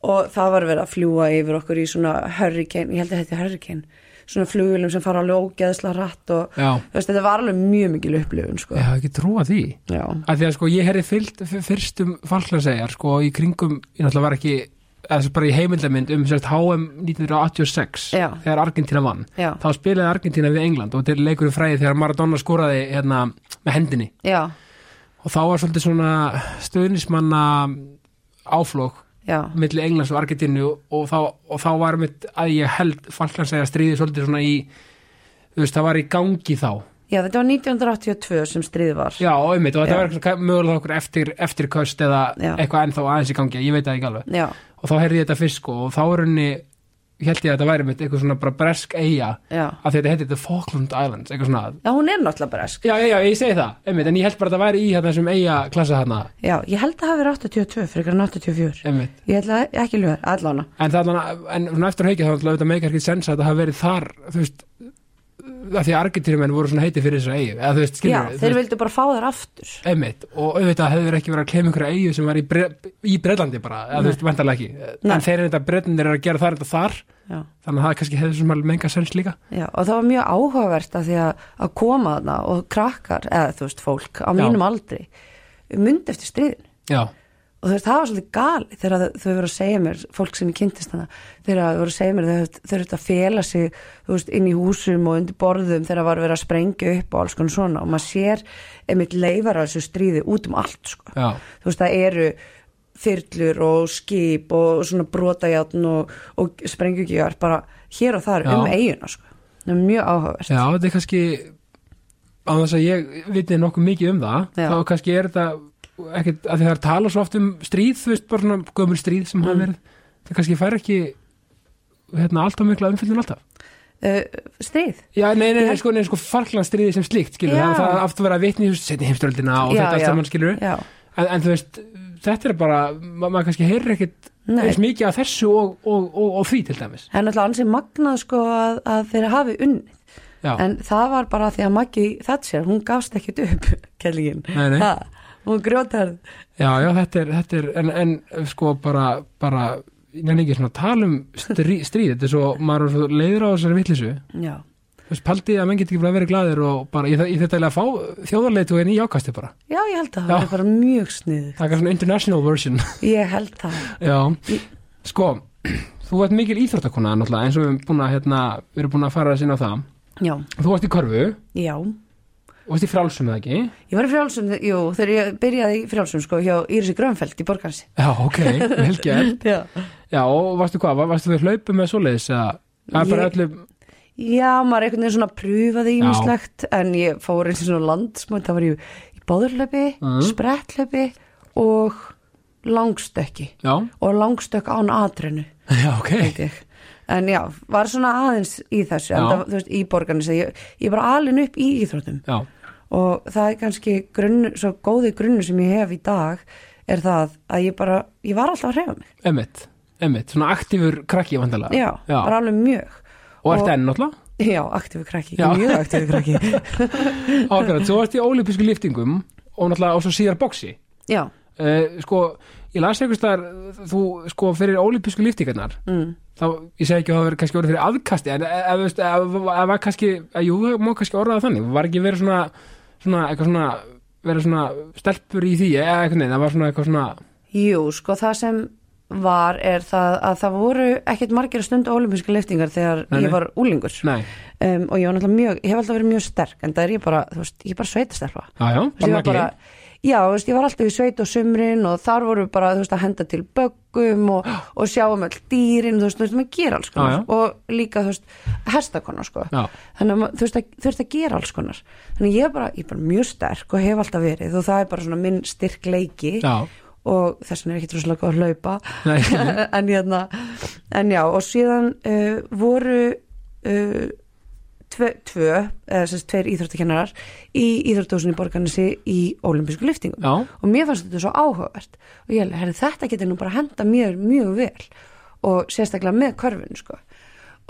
S2: og það var verið að fljúa yfir okkur í svona hurricane, ég held að þetta er hurricane svona flugulum sem fara alveg ógeðsla rætt og
S1: Já,
S2: þú veist, þetta var alveg mjög mikil upplifun sko.
S1: ég hafði ekki trúa því
S2: Já.
S1: að því að sko ég herri fyllt fyrstum falklandsegjar sko í kringum ég náttúrulega var ekki eða sem bara í heimildamind um sérst HM 1986
S2: Já.
S1: þegar Argentina vann
S2: Já.
S1: þá spilaði Argentina við England og þetta er leikur í fræði þegar Maradona skoraði hérna með hendinni
S2: já,
S1: og þá var svolítið svona stöðnismanna áflók
S2: já,
S1: milli Englands og Argentínu og, og, þá, og þá var mitt að ég held falklandsegjar stríði svolítið svona í þú veist það var í gangi þá
S2: já þetta var 1982 sem stríð var
S1: Já, einmitt, og þetta
S2: Já.
S1: var eitthvað mögulega okkur eftir, eftir köst eða
S2: Já.
S1: eitthvað ennþá aðeins í gangi, ég veit það ekki alveg.
S2: já,
S1: Og þá heyrði ég þetta fyrst sko og þá er henni, held ég að þetta væri mitt eitthvað svona bara bresk eiga
S2: já.
S1: af því þetta heitir The Falkland Islands, eitthvað svona.
S2: já hún er náttúrulega bresk
S1: Já, já, já, ég segi það, einmitt, en ég held bara að þetta væri í hérna þessum eiga klassa hérna,
S2: já, ég held að það hafi verið 82 frekar en 84
S1: einmitt.
S2: ég held að ekki lögur, allána
S1: En það er alveg, en svona eftir haukið þá er þetta meikar ekki sens að þetta hafi verið þar, þú veist, að því að argentínumenn voru svona heiti fyrir þessa eigu, eða þú veist,
S2: já,
S1: skilur,
S2: þeir vildu bara fá þér aftur
S1: Einmitt, og auðvitað hefur ekki verið að klema einhverja eigu sem var í, bre í Breitlandi bara, eða þú veist, vantarlega ekki
S2: Nei.
S1: en þeir eru þetta Bretlandir eru að gera þar þetta þar
S2: já.
S1: þannig að það kannski hefur sem alveg menga sens líka
S2: Já, og það var mjög áhugavert að því að, að koma þarna og krakkar, eða þú veist fólk á
S1: Já.
S2: mínum aldri, myndi eftir stríðin
S1: Já,
S2: og þú veist, það var svolítið gali þegar þau- þau voru að segja mér, fólk sem ég kynntist hana þegar þau voru að segja mér þau, þau eru að fela sig, þú veist, inn í húsum og undir borðum þegar var verið að sprengja upp og alls konar svona og maður sér einmitt leifar af þessu stríði út um allt sko.
S1: já,
S2: þú veist, það eru þyrlur og skip og svona brotajátn og, og sprengjugjör bara hér og þar
S1: Já.
S2: um eiguna sko. það er mjög áhugavert
S1: já, þetta er kannski á þess að ég vitni nokkuð mikið um það
S2: Já.
S1: þá kannski er þetta ekkit, að því það er tala svo oft um stríð þú veist, bara svona gömul stríð sem
S2: Mm.
S1: hafa verið það kannski fær ekki hérna, alltaf mikla umfyllun alltaf
S2: uh, stríð
S1: Já, nei, nei, nei, sko, nei, sko farklandstriði sem slíkt, skilur,
S2: Já.
S1: það, það er aftur verið að vitni setni heimstöldina og
S2: Já,
S1: þetta allt
S2: já.
S1: saman, skilur
S2: já,
S1: en, en þú veist, þetta er bara ma maður kannski heyrir ekkit
S2: Nei.
S1: eins mikið af þessu og, og, og, og því til dæmis
S2: það er náttúrulega ansið magnað sko að, að þeirra hafi unnið
S1: já,
S2: en það var bara því að Maggi Thatcher hún gafst ekkit upp, kellingin
S1: Nei, nei.
S2: hún grjótar
S1: já, já, þetta er, þetta er en, en sko bara, bara nefnir ekki svona tala um strí, stríð þetta er svo, maður er svo leiður á þessari vitleysu
S2: já,
S1: þú veist, paldið að menn getur ekki bara verið glæðir og bara, ég, þa- ég þetta er að fá þjóðarleitu í ákasti bara,
S2: já, ég held að
S1: Já.
S2: það er bara mjög sniðu
S1: taka svona international version
S2: ég held það,
S1: Já, sko þú ert mikil íþróttakona náttúrulega eins og við erum búin að, hérna, við erum búin að fara að sinna á það
S2: já,
S1: Þú ert í körfu og
S2: já
S1: ert í frálsum eða ekki
S2: ég var í frjálsum, jú, þegar ég byrjaði í frjálsum sko hjá Írisi Grönfeld í Borgansi
S1: Já, ok, vel gert
S2: já
S1: Já, og varstu hvað, var- varstu við hlaupum með svoleiðis eða það er bara
S2: Ég-
S1: öllu
S2: Já, maður einhvern veginn svona prúfaði
S1: Já.
S2: ímislegt en ég fór eins og svona landsmönd það var ég í báðurlöpi,
S1: Mm.
S2: sprettlöpi og langstökki
S1: Já,
S2: og langstökk án atrennu
S1: já, ok
S2: held ég. en já, var svona aðeins í þessu,
S1: Já.
S2: en það, þú veist, í borgarni sem ég, ég er bara alin upp í íþróttum
S1: Já,
S2: og það er kannski grunn, svo góði grunnu sem ég hef í dag er það að ég bara, ég var alltaf að hrefa mig
S1: emmitt einmitt, svona aktífur krakki vandalega
S2: já, bara alveg mjög
S1: og ert
S2: og-
S1: enn náttúrulega,
S2: já, aktífu krakki,
S1: Já.
S2: mjög aktífu krakki
S1: ákveðan svo ert í ólípisku liftingum og náttúrulega og svo síðar boksi
S2: já,
S1: uh, sko, ég las einhvers þar þú, sko, fyrir ólípisku liftingarnar
S2: mm.
S1: þá, ég segi ekki að það verið kannski orðið fyrir aðkasti en eh, ef, ef, veist, ef, ef var kannski að, jú, það má kannski orða það þannig var ekki verið svona, svona, eitthvað svona verið svona stelpur í því eða eitthvað neina, það var svona eitthvað svona
S2: jú, sko það sem var er það að það voru ekkert margir stundu ólimpíska liftingar þegar
S1: Nei, nei.
S2: ég var úlingur
S1: nei,
S2: um, og ég var náttúrulega mjög, ég hef alltaf verið mjög sterk en það er ég bara, þú veist, ég er bara sveitastelpa
S1: já, já,
S2: Þú veist, ég
S1: bara
S2: var bara,
S1: nagli
S2: já, þú veist, ég var alltaf í sveit og sumrin og þar vorum við bara, þú veist, að henda til böggum og, og sjáum öll dýrin, þú veist, þú veist, maður gera alls konar
S1: Já, já.
S2: og líka, þú veist, hestakona, sko
S1: Já.
S2: þannig að ma- þú veist, að, þú veist að gera alls konar þannig að ég er bara, ég er bara mjög sterk og hef alltaf verið og það er bara svona minn styrk leiki
S1: Já.
S2: og þess vegna er ekki trúslega góð að hlaupa
S1: Nei.
S2: en hérna, en já, og síðan uh, voru uh, tve, tvö, eða sérst tveir íþróttakennarar í íþróttahúsinni borgarnasi í olimpísku lyftingum
S1: Já.
S2: og mér fannst þetta svo áhugavert og ég hefði þetta getur nú bara henda mér mjög vel og sérstaklega með körfun sko.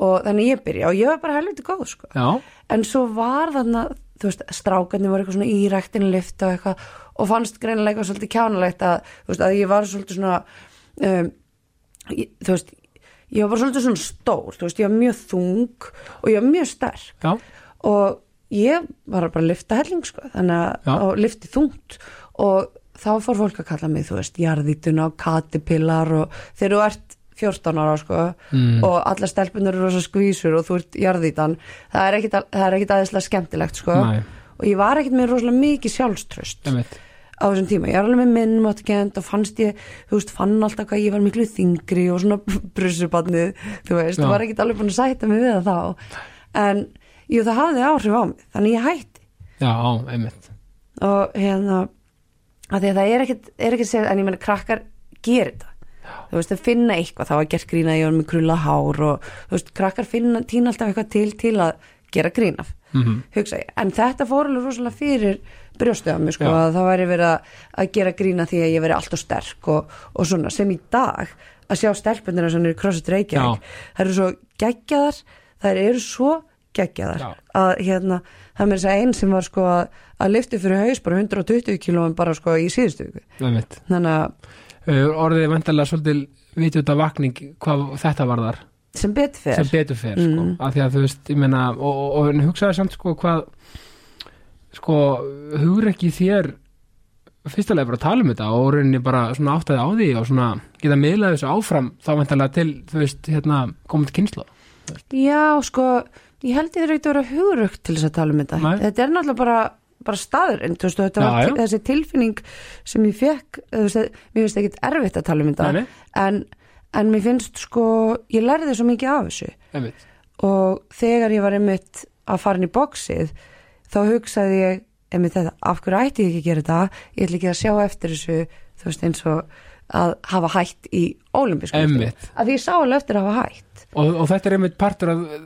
S2: og þannig ég byrja og ég var bara helviti góð sko.
S1: já,
S2: en svo var þarna þú veist, strákarnir voru eitthvað svona í ræktinu lift og eitthvað og fannst greinilega eitthvað svolítið kjánalegt að, þú veist, að ég var svolítið svona um, ég, þú veist ég var bara svolítið svona stór, þú veist, ég var mjög þung og ég var mjög sterk
S1: já,
S2: og ég var bara að lifta helling sko, þannig
S1: Já.
S2: að og lifti þungt og þá fór fólk að kalla mig, þú veist, jarðítuna og katipillar og þegar þú ert 14 ára sko
S1: Mm.
S2: og alla stelpunar eru rosa skvísur og þú ert jarðítan það er ekkit, það er ekkit aðeinslega skemmtilegt sko
S1: Nei.
S2: og ég var ekkit með rosalega mikið sjálfströst
S1: einmitt
S2: á þessum tíma, ég er alveg með minn máttkend og fannst ég, þú veist, fann alltaf hvað ég var miklu þingri og svona brusubadnið, þú veist,
S1: Já.
S2: og var ekkert alveg búin að sæta mig við það þá, en jú, það hafði áhrif á mig, þannig ég hætti
S1: já, einmitt,
S2: og hérna að því að það er ekkert, er ekkert sér, en ég meina krakkar gerir þetta þú veist, að finna eitthvað, það var gert grín að ég var með krulla hár og þú veist, krakkar finna týna alltaf eitthvað til til að gera grín af
S1: Mhm.
S2: hugsa ég, en þetta fór alveg rosalega fyrir brjóstu af mig, sko,
S1: Já.
S2: að það væri verið að, að gera grína því að ég veri alltaf sterk og, og svona, sem í dag að sjá stelpunina sem eru í CrossFit Reykjavík það eru svo geggjaðar það eru svo geggjaðar
S1: Já.
S2: að hérna, það er með þess að einn sem var sko að, að lifti fyrir haus bara 120 kílóum bara sko í síðustu viku.
S1: einmitt.
S2: þannig að
S1: Uh, orðið vantarlega svolítið vitjóta vakning hvað þetta varðar
S2: sem betur fer Mm.
S1: sem betur fer sko. af því að þú veist, ég meina og, og, og en hugsaði samt sko hvað sko, hugur ekki þér fyrstulega bara að tala um þetta og rauninni bara svona áttaði á því og svona geta miðlaði þessu áfram þá vantarlega til, þú veist, hérna komandi kynsla
S2: Já, sko, ég held ég þurfi ekkert að vera hugrögt til þess að tala um þetta.
S1: Nei.
S2: Þetta er náttúrulega bara, bara staður, en þú veist, þetta
S1: Já,
S2: var
S1: já.
S2: þessi tilfinning sem ég fekk, þú veist, mér finnst ekkert erfitt að tala um þetta,
S1: Nei, nei.
S2: En, en mér finnst sko, ég lærði svo mikið af þessu
S1: einmitt,
S2: og þegar ég var einmitt að fara inn í boxið, þá hugsaði ég einmitt þetta, af hverju ætti ég ekki að gera þetta, ég ætla ekki að sjá eftir þessu, þú veist, eins og að hafa hætt í ólimpísku.
S1: Einmitt.
S2: Að því ég sá alveg eftir að hafa hætt.
S1: og, og þetta er einmitt partur af uh,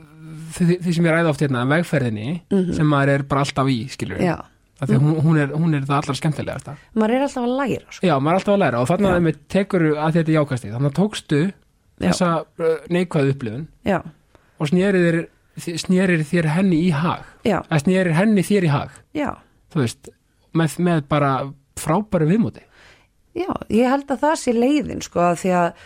S1: því, því sem ég ræði oft hérna vegferðinni sem maður er bara alltaf í skilur
S2: Mhm. Já. Mhm.
S1: af því að hún, hún, er, hún er það allra skemmtilega þetta
S2: Maður er alltaf að læra, sko.
S1: Já, maður er alltaf að læra og þannig að einmitt tekur að þetta jákasti, þannig að tókstu þessa uh, neikvæðu upplifun
S2: Já,
S1: og snérir þér, snérir þér henni í hag
S2: já,
S1: að snérir henni þér í hag
S2: já,
S1: þú veist, með, með bara frábæru viðmóti
S2: já, ég held að það sé leiðin sko að því að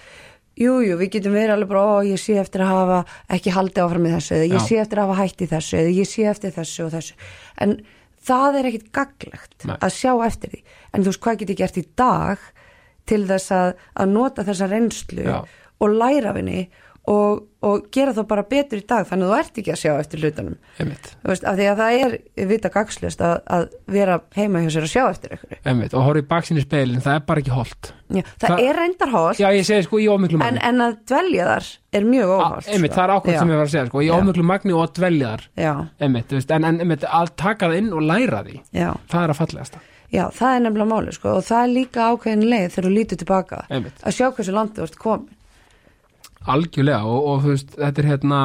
S2: jú, jú, við getum verið alveg bara, ó, ég sé eftir að hafa ekki haldið áfram í þessu, eða ég
S1: Já.
S2: sé eftir að hafa hætt í þessu, eða ég sé eftir þessu og þessu, en það er ekkit gaglegt
S1: Nei.
S2: að sjá eftir því, en þú veist hvað get ég gert í dag til þess að, að nota þessa reynslu
S1: Já.
S2: og læra af henni og, og gera þá bara betur í dag, þannig að þú ert ekki að sjá eftir hlutunum,
S1: einmitt,
S2: þú veist, af því að það er vita gagslust að, að vera heima hjá sér að sjá eftir ykkur
S1: einmitt og horfið baksinni speilin, það er bara ekki holt
S2: Já, það
S1: Það-
S2: er reyndarholt
S1: Já, ég segi sko í ómiklu
S2: en,
S1: magni
S2: en að dvelja þar er mjög
S1: A,
S2: óholt
S1: Ah, einmitt,
S2: sko.
S1: það er ákvæmt
S2: Já,
S1: sem ég var að segja sko, í
S2: Já.
S1: ómiklu magni og að dvelja þar
S2: já,
S1: einmitt, þú veist, en, en einmitt, að taka það inn og læra því
S2: já,
S1: það er að fallegasta,
S2: já, það er nefnilega máli sko, og það er líka ákveðin leið þegar þú lítur tilbaka
S1: einmitt
S2: að sjá hversu landið vart komin
S1: algjörlega og, og þú veist, þetta er hérna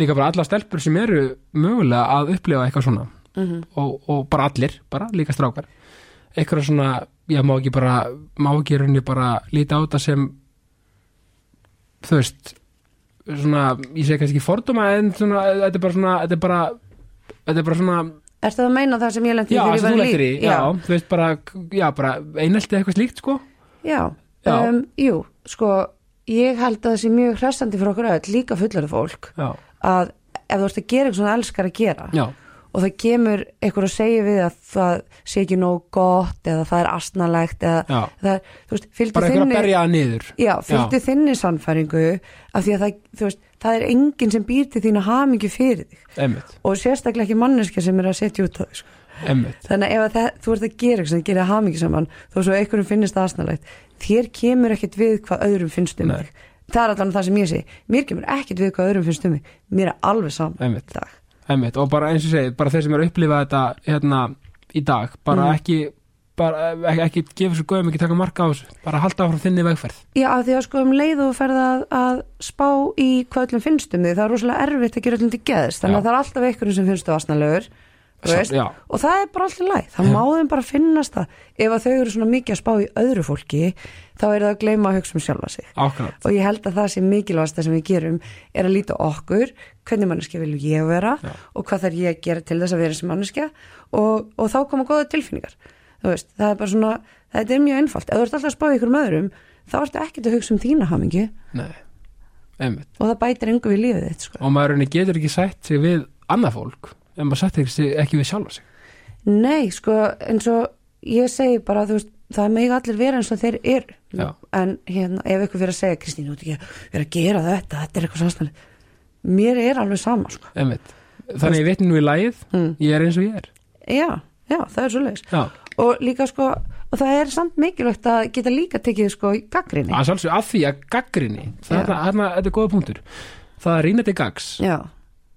S1: líka bara alla stelpur sem eru mögulega að upplifa eitthvað svona
S2: Mhm.
S1: og, og bara allir, bara líka strákar eitthvað svona, já má ekki bara má ekki í rauninni bara líta á þetta sem þú veist svona, ég segi kannski ekki fordóma en svona, þetta er bara svona þetta er bara, þetta er bara svona
S2: Ertu það að meina það sem ég lendi
S1: já, sem þú lettir í, já,
S2: Já,
S1: þú veist bara, já, bara einelti eitthvað slíkt, sko
S2: Já,
S1: Já.
S2: Um, jú, sko ég held að það sé mjög hressandi fyrir okkur öll líka fullari fólk
S1: já,
S2: að ef þú ert að gera eitthvað sem þú elskar að gera
S1: já,
S2: og það kemur einhver að segja við að það sé ekki nóg gott eða það er asnalegt eða
S1: já
S2: það er, þú veist, fylgdu
S1: bara einhver að
S2: þinni
S1: berja það niður
S2: já, fylgdu þinni sannfæringu af því að það, þú veist, það er enginn sem býr til þína hamingi fyrir þig
S1: emmitt,
S2: og sérstaklega ekki manneskja sem er að setja út á þig sko.
S1: emmitt,
S2: Þannig að ef að það, þú ert að gera eitthvað sem gerir hamingi saman þó svo einhverjum finnist það asnalegt þér kemur ekkit við hvað öðrum finnst um
S1: Nei.
S2: þig það er allan það sem ég sé mér kemur ekkit við hvað öðrum finnst um mig mér er alveg saman
S1: Einmitt.
S2: dag
S1: emmitt og bara eins og segi, bara þeir sem eru að upplifa þetta hérna í dag,
S2: Mhm.
S1: bara ekki bara ekki, ekki gefa svo gauðum, ekki taka marka á þessu bara halda áfram þinni vegferð
S2: Já, af því að sko um leið og þú ferð að, að spá í hvað öllum finnst um þig, það er rosalega erfitt að gera öllum til geðist, þannig
S1: Já.
S2: að það er alltaf einhverjum sem finnst þú asnalegur, þú
S1: Sa-
S2: veist,
S1: já.
S2: og það er bara alltaf læg, það má þeim bara finnast það, ef að þau eru svona mikið að spá í öðru fólki, þá er það að gleyma að hugsa um sjálfa sig.
S1: ákvæmt,
S2: Og ég held að það sem mikilvægast það sem við gerum er að líta á okkur, hvernig manneskja vil ég vera
S1: Já.
S2: og hvað þarf ég að gera til þess að vera sem manneskja og, og þá koma góða tilfinningar. Þú veist, það er bara svona, þetta er mjög einfalt. Ef þú ert alltaf að spá í ykkur öðrum, þá ertu ekkert að hugsa um þína hamingi
S1: nei, emmitt
S2: og það bætir engu við lífið þitt, sko.
S1: og maður rauninni getur ekki sætt sig við annað fólk en maður sætt sig ekki við sjálfa sig
S2: Nei, sko, eins og ég segi bara, þú veist, það með allir vera eins og þeir eru.
S1: Já.
S2: En hérna, ef ykkur fyrir að segja, Kristín, þú ert ekki að vera að gera þetta, þetta er eitthvað sannsnæli. Mér er alveg sama, sko.
S1: Einmitt. Þannig ég vitni nú í lagið,
S2: Mm.
S1: ég er eins og ég er.
S2: Já, já, það er svo
S1: Já,
S2: og líka sko og það er samt mikilvægt að geta líka tekið sko í gaggrinni
S1: að sjálfsög að því að gaggrinni,
S2: Já.
S1: þarna, þarna, þetta er góða punktur. Það að rýna til gags,
S2: já,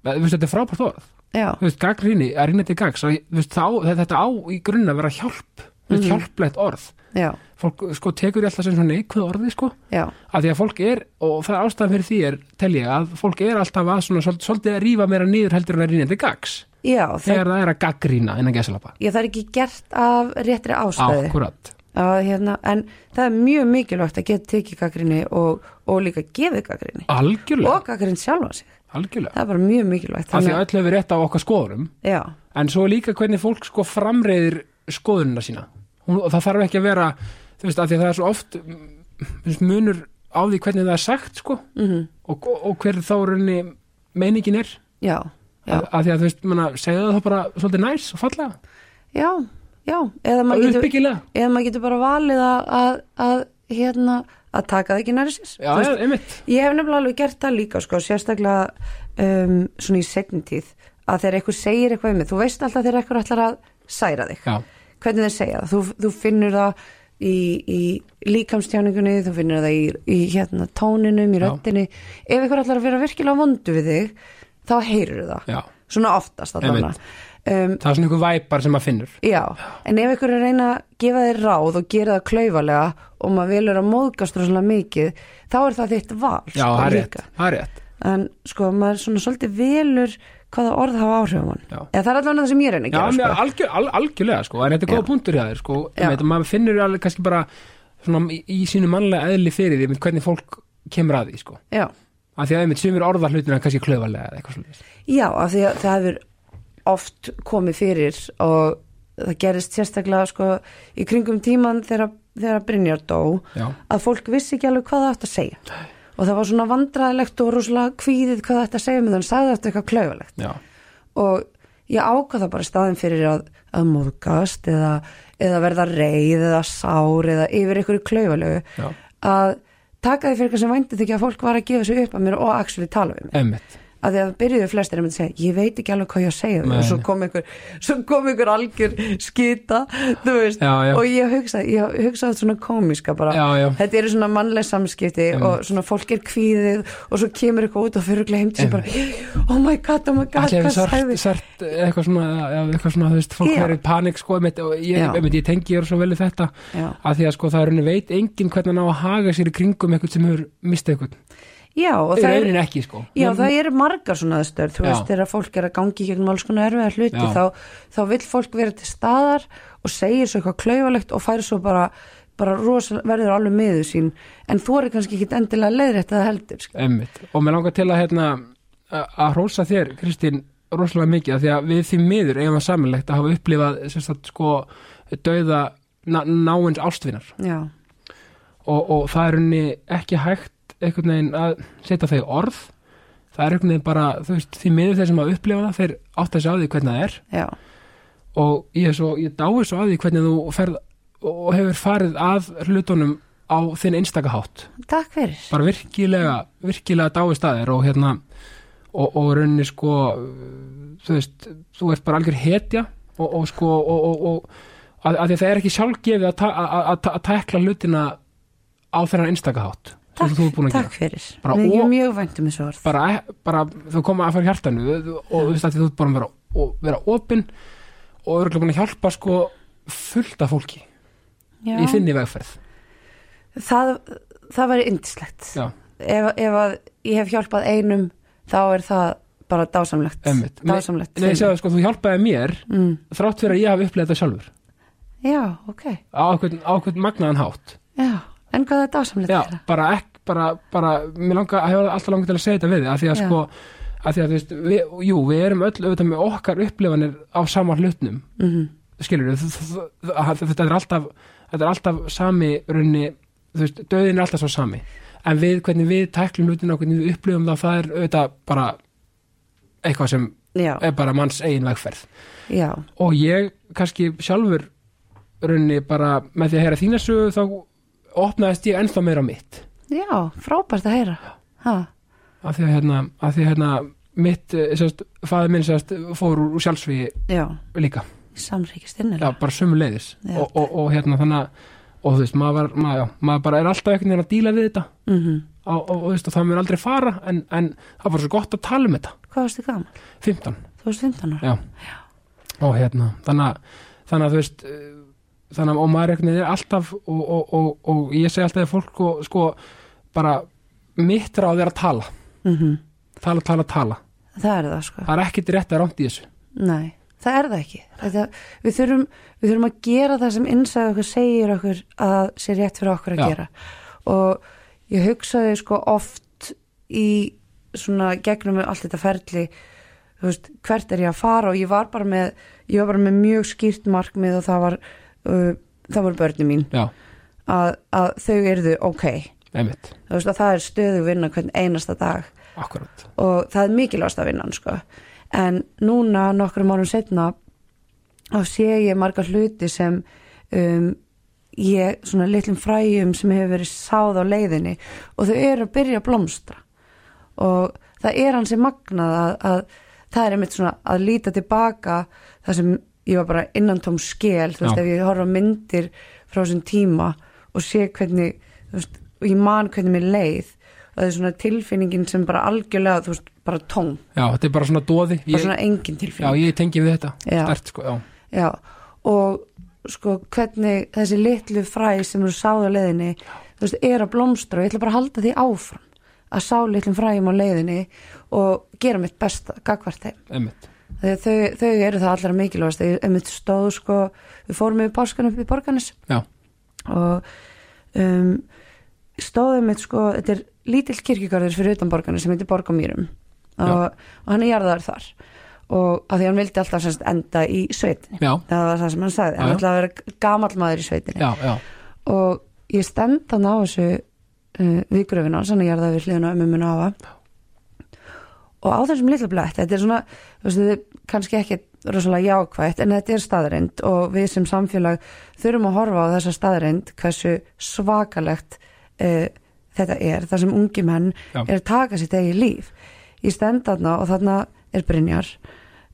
S1: þú veist, þetta er frábært orð.
S2: já,
S1: Þú veist, gaggrinni, að rýna til gags, og, þú veist, þá, þetta- þetta á í grunn að vera hjálp, mm -hmm. hjálplegt orð.
S2: já,
S1: Fólk, sko, tekur ég alltaf sem svona neikvöð orði, sko,
S2: já
S1: að því að fólk er, og það er ástæðan fyrir því er, tel ég, að fólk er alltaf að svona, svol- svolítið að rífa meira niður heldur en að rýna til gags,
S2: já, það,
S1: þegar það er að gaggrína innan gæsalapa.
S2: já, það er ekki gert af réttri ástæði
S1: Akkurat.
S2: að, hérna, en það er mjög mikilvægt að geta tekið gaggrinni og, og líka gefið gaggrinni
S1: Algjörlega,
S2: og gaggrinn sjálfa sig,
S1: algjörlega.
S2: það er bara mjög mikilvægt
S1: af því að
S2: að,
S1: öll hefur rétt á okkar skoðunum
S2: já,
S1: en svo líka hvernig fólk sko framreiðir skoðunina sína Hún, og það þarf ekki að vera þú veist, af því að það er svo oft mm, þú veist, munur á því hvernig það er sagt sko
S2: Mhm.
S1: -hmm. og, og, og hver þá raunni meiningin er
S2: já, já,
S1: af af því að þú veist, manna, segja það þá bara svolítið næs og fallega,
S2: já, já eða
S1: og
S2: maður getur,
S1: uppbyggilega
S2: eða maður getur bara valið að, að, að hérna, að taka það ekki næri sér
S1: já,
S2: Þú
S1: já,
S2: veist,
S1: einmitt,
S2: Ég hef nefnilega alveg gert það líka sko, sérstaklega um, svona í setni tíð að þegar eitthvað segir eitthvað um mig þú veist alltaf þegar eitthvað ætlar að særa þig
S1: já,
S2: hvernig þeir segja það, þú, þú finnur það í, í líkamstjáningunni þú finnur það í, í hérna, tóninum í
S1: Já.
S2: röddinni, ef eitthvað ætlar að vera virkilega vondu við þig, þá heyrur það
S1: já
S2: svona oftast allavega
S1: Einmitt.
S2: um,
S1: það er svona einhver væpar sem maður finnur
S2: Já, en ef ykkur er að reyna að gefa þér ráð og gera það klaufalega og maður velur að móðgast rosalega mikið, þá er það þitt val
S1: já,
S2: sko,
S1: það er rétt,
S2: líka
S1: það er rétt
S2: en sko maður svona svolítið velur hvaða orð hafa áhrif á hann
S1: Já.
S2: eða það er allavega það sem ég reyna að
S1: Já,
S2: gera
S1: mér,
S2: sko.
S1: algjör, al, algjörlega sko, en þetta er góða punktur hjá þér sko,
S2: Já.
S1: um, maður finnur alveg kannski bara svona, í, í sínu mannlega eðli fyrir því einmitt hvernig fólk kemur að því sko.
S2: já.
S1: af því að einmitt sumir orða hlutina kannski klaufalega eða eitthvað svolítið
S2: já, af því að það hefur oft komið fyrir og það gerist sérstaklega sko í kringum tíman þegar, þegar Brynjar dó
S1: Já.
S2: að fólk vissi ekki alveg hvað það átt að segja og það var svona vandræðilegt og rosalega kvíðið hvað það átt að segja með þann sagði þetta eitthvað klaufalegt
S1: Já,
S2: og ég ákvað það bara staðin fyrir að, að móðgast eða, eða verða reið eða sár eða yfir ykkur klaufalegu
S1: Já.
S2: að taka því fyrir eitthvað sem vændi þykja að fólk var að gefa sig upp að mér og actually tala um mig
S1: emmitt
S2: að því að byrjuðu flestir að myndi segja ég veit ekki alveg hvað ég á að segja
S1: Nei,
S2: og svo
S1: nei.
S2: kom einhver, svo kom einhver algjör skita, þú veist
S1: Já, já.
S2: og ég hugsaði, ég hugsaði svona komiska bara,
S1: Já, já.
S2: þetta eru svona mannleg samskipti
S1: Mm.
S2: og svona fólk er kvíðið og svo kemur eitthvað út og fyrir heim til sér bara, oh my god, oh my god
S1: Allir
S2: hvað
S1: hefur sært,
S2: sagði
S1: sært eitthvað svona, já, eitthvað svona þú veist, fólk
S2: Já.
S1: er í panik sko, einmitt, og ég,
S2: Já.
S1: einmitt, ég tengi ég er svo vel í þetta
S2: Já.
S1: af því að sko, það er henni veit enginn hvernig hann á að haga sér í kringum eitthvað sem hefur mistað eitthvað
S2: Já,
S1: Það
S2: og það
S1: er
S2: er
S1: raunin ekki sko
S2: Já, það eru margar svona aðstöður, þú
S1: Já.
S2: veist, þegar fólk er að gangi gegnum alls konar erfiðar hluti,
S1: Já.
S2: þá, þá vill fólk vera til staðar og segir svo eitthvað klaufalegt og fær svo bara bara rosa, verður alveg meðu sín en þú eru kannski ekki endilega leiðrætt að það heldur sko.
S1: Einmitt. Og mér langar til að hérna, a- að hrósa þér, Kristín, rosalega mikið af því að við því miður eigum að samanlegt að hafa upplifað sérstætt sko dauða ná, náins ástvinar
S2: já,
S1: og, og það er henni ekki hægt einhvern veginn að setja þau í orð það er einhvern veginn bara, þú veist, því miður þeir sem að upplifa það, þeir átt að sjá því hvernig það er
S2: já,
S1: og ég, er svo, ég dái svo að því hvernig þú ferð og hefur farið að hlutunum á þinn einstaka hátt
S2: takk fyrir
S1: bara virkilega, virkilega dái staðir og hérna og, og rauninni sko þú veist, þú ert bara algjör hetja og, og sko og, og, og að, að því að það er ekki sjálfgefið að, ta, að, að, að tekla hlutina á þennan einstaka hátt eins og
S2: takk,
S1: þú er búin að
S2: takk
S1: gera
S2: fyrir,
S1: Bara
S2: Mér ég
S1: og-
S2: er mjög vænt um þessu orð
S1: bara, bara þú koma að fara hjartanu og þú veist að því þú ert bara að vera, og, vera opin og örugglega búin að hjálpa sko fullt af fólki
S2: já,
S1: í þinni vegferð
S2: það, það væri yndislegt
S1: já,
S2: ef, ef að ég hef hjálpað einum þá er það bara dásamlegt
S1: emmitt
S2: dásamlegt
S1: Nei, ég
S2: fyrir.
S1: segði sko, þú hjálpaði mér
S2: mm.
S1: þrátt fyrir að ég hafi upplegað þetta sjálfur
S2: já, ok
S1: á hvern, á hvern magnaðan hátt
S2: já. en hvað er dásamlegt
S1: já,
S2: þeirra?
S1: bara ekki, bara, bara mér langa, hefur alltaf langað til að segja þetta við þig, af því að
S2: Já.
S1: sko af því að þú veist, við, jú, við erum öll auðvitað með okkar upplifanir á sama hlutnum
S2: Mm
S1: skilur við, þetta er alltaf þetta er alltaf sami raunni, þú veist, döðin er alltaf svo sami en við, hvernig við tæklum hlutina og hvernig við upplifum það, það er auðvitað bara eitthvað sem
S2: já,
S1: er bara manns eigin vegferð
S2: já,
S1: og ég kannski sjálfur raunni bara með því að heyra þína sögu þá opnaðist ég ennþá meira á mitt
S2: já, frábært að heyra ha.
S1: af því að hérna, af því að hérna mitt, eh, sérst, faðir minn sérst fór úr sjálfsví
S2: já,
S1: líka
S2: samríkist innir
S1: já, bara sömu leiðis
S2: Já.
S1: og, og, og hérna þannig að og þú veist, maður, var, maður, já, maður bara er alltaf einhvern veginn að díla við þetta
S2: mm
S1: og, og, og, þú veist, og það mér aldrei fara en, en það var svo gott að tala um þetta
S2: hvað varstu gaman?
S1: 15
S2: þú varst 15 ára
S1: já. og hérna þannig að, þannig að þú veist eh, þannig að og maður einhvern veginn er alltaf og, og, og, og ég segi alltaf að fólk og, sko bara mitt ráð er að tala
S2: mm
S1: tala, tala, tala,
S2: það er það sko
S1: það er ekkit rétt að rámt í þessu
S2: Nei, það er það ekki Þetta, við, þurfum, við þurfum að gera það sem innsæði okkur segir okkur að sé rétt fyrir okkur að
S1: Já.
S2: gera og ég hugsaði sko oft í svona gegnum allt þetta ferli þú veist, hvert er ég að fara og ég var bara með, ég var bara með mjög skýrt markmið og það var uh, það voru börnin mín
S1: já,
S2: að, að þau erðu ok
S1: einmitt,
S2: þú veist að það er stöðu vinna hvern einasta dag
S1: akkurat
S2: og það er mikilvægast að vinnan sko. en núna nokkrum árum setna þá sé ég margar hluti sem um, ég svona litlum fræjum sem hefur verið sáð á leiðinni og þau eru að byrja að blómstra og það er hansi magnað að, að það er einmitt svona að líta tilbaka það sem ég var bara innantóm skel þú veist
S1: Já.
S2: ef ég horfa á myndir frá þessum tíma og sé hvernig þú veist, og ég man hvernig mér leið og það er svona tilfinningin sem bara algjörlega þú veist bara tóm,
S1: já, þetta er bara svona doði
S2: bara
S1: ég,
S2: svona engin tilfinning
S1: já, ég tengi við þetta,
S2: Já.
S1: stert sko já,
S2: Já, og sko hvernig þessi litlu fræ sem eru sáð á leiðinni þú veist, er að blómstra og ég ætla bara að halda því áfram að sá litlum fræjum á leiðinni og gera mitt besta gagvart þeim.
S1: einmitt,
S2: Þegar þau, þau eru það allra mikilvægast þegar einmitt stóð sko, við fórum yfir páskan upp í borganis
S1: já,
S2: og um, stóðum mitt sko, þetta er lítill kirkjugarður fyrir utan borgarna sem heitir Borgamýrum og, og hann er jarðar þar og að því hann vildi alltaf semst enda í sveitinni
S1: já,
S2: það var það sem hann sagði,
S1: Já,
S2: hann
S1: já.
S2: ætlaði að vera gamall maður í sveitinni
S1: já, já.
S2: og ég stend hann á þessu uh, vikuröfin hans, hann er jarðað við hliðina um um afa og á þessum litla blætt, þetta er svona þú veist, þetta er kannski ekki rosalega jákvætt en þetta er staðreind og við sem samfélag þurfum að horfa á þessa staðreind hversu svakalegt uh, þetta er, þar sem ungi menn
S1: Já.
S2: er að taka sitt eigi líf ég stend þarna og þarna er Brynjar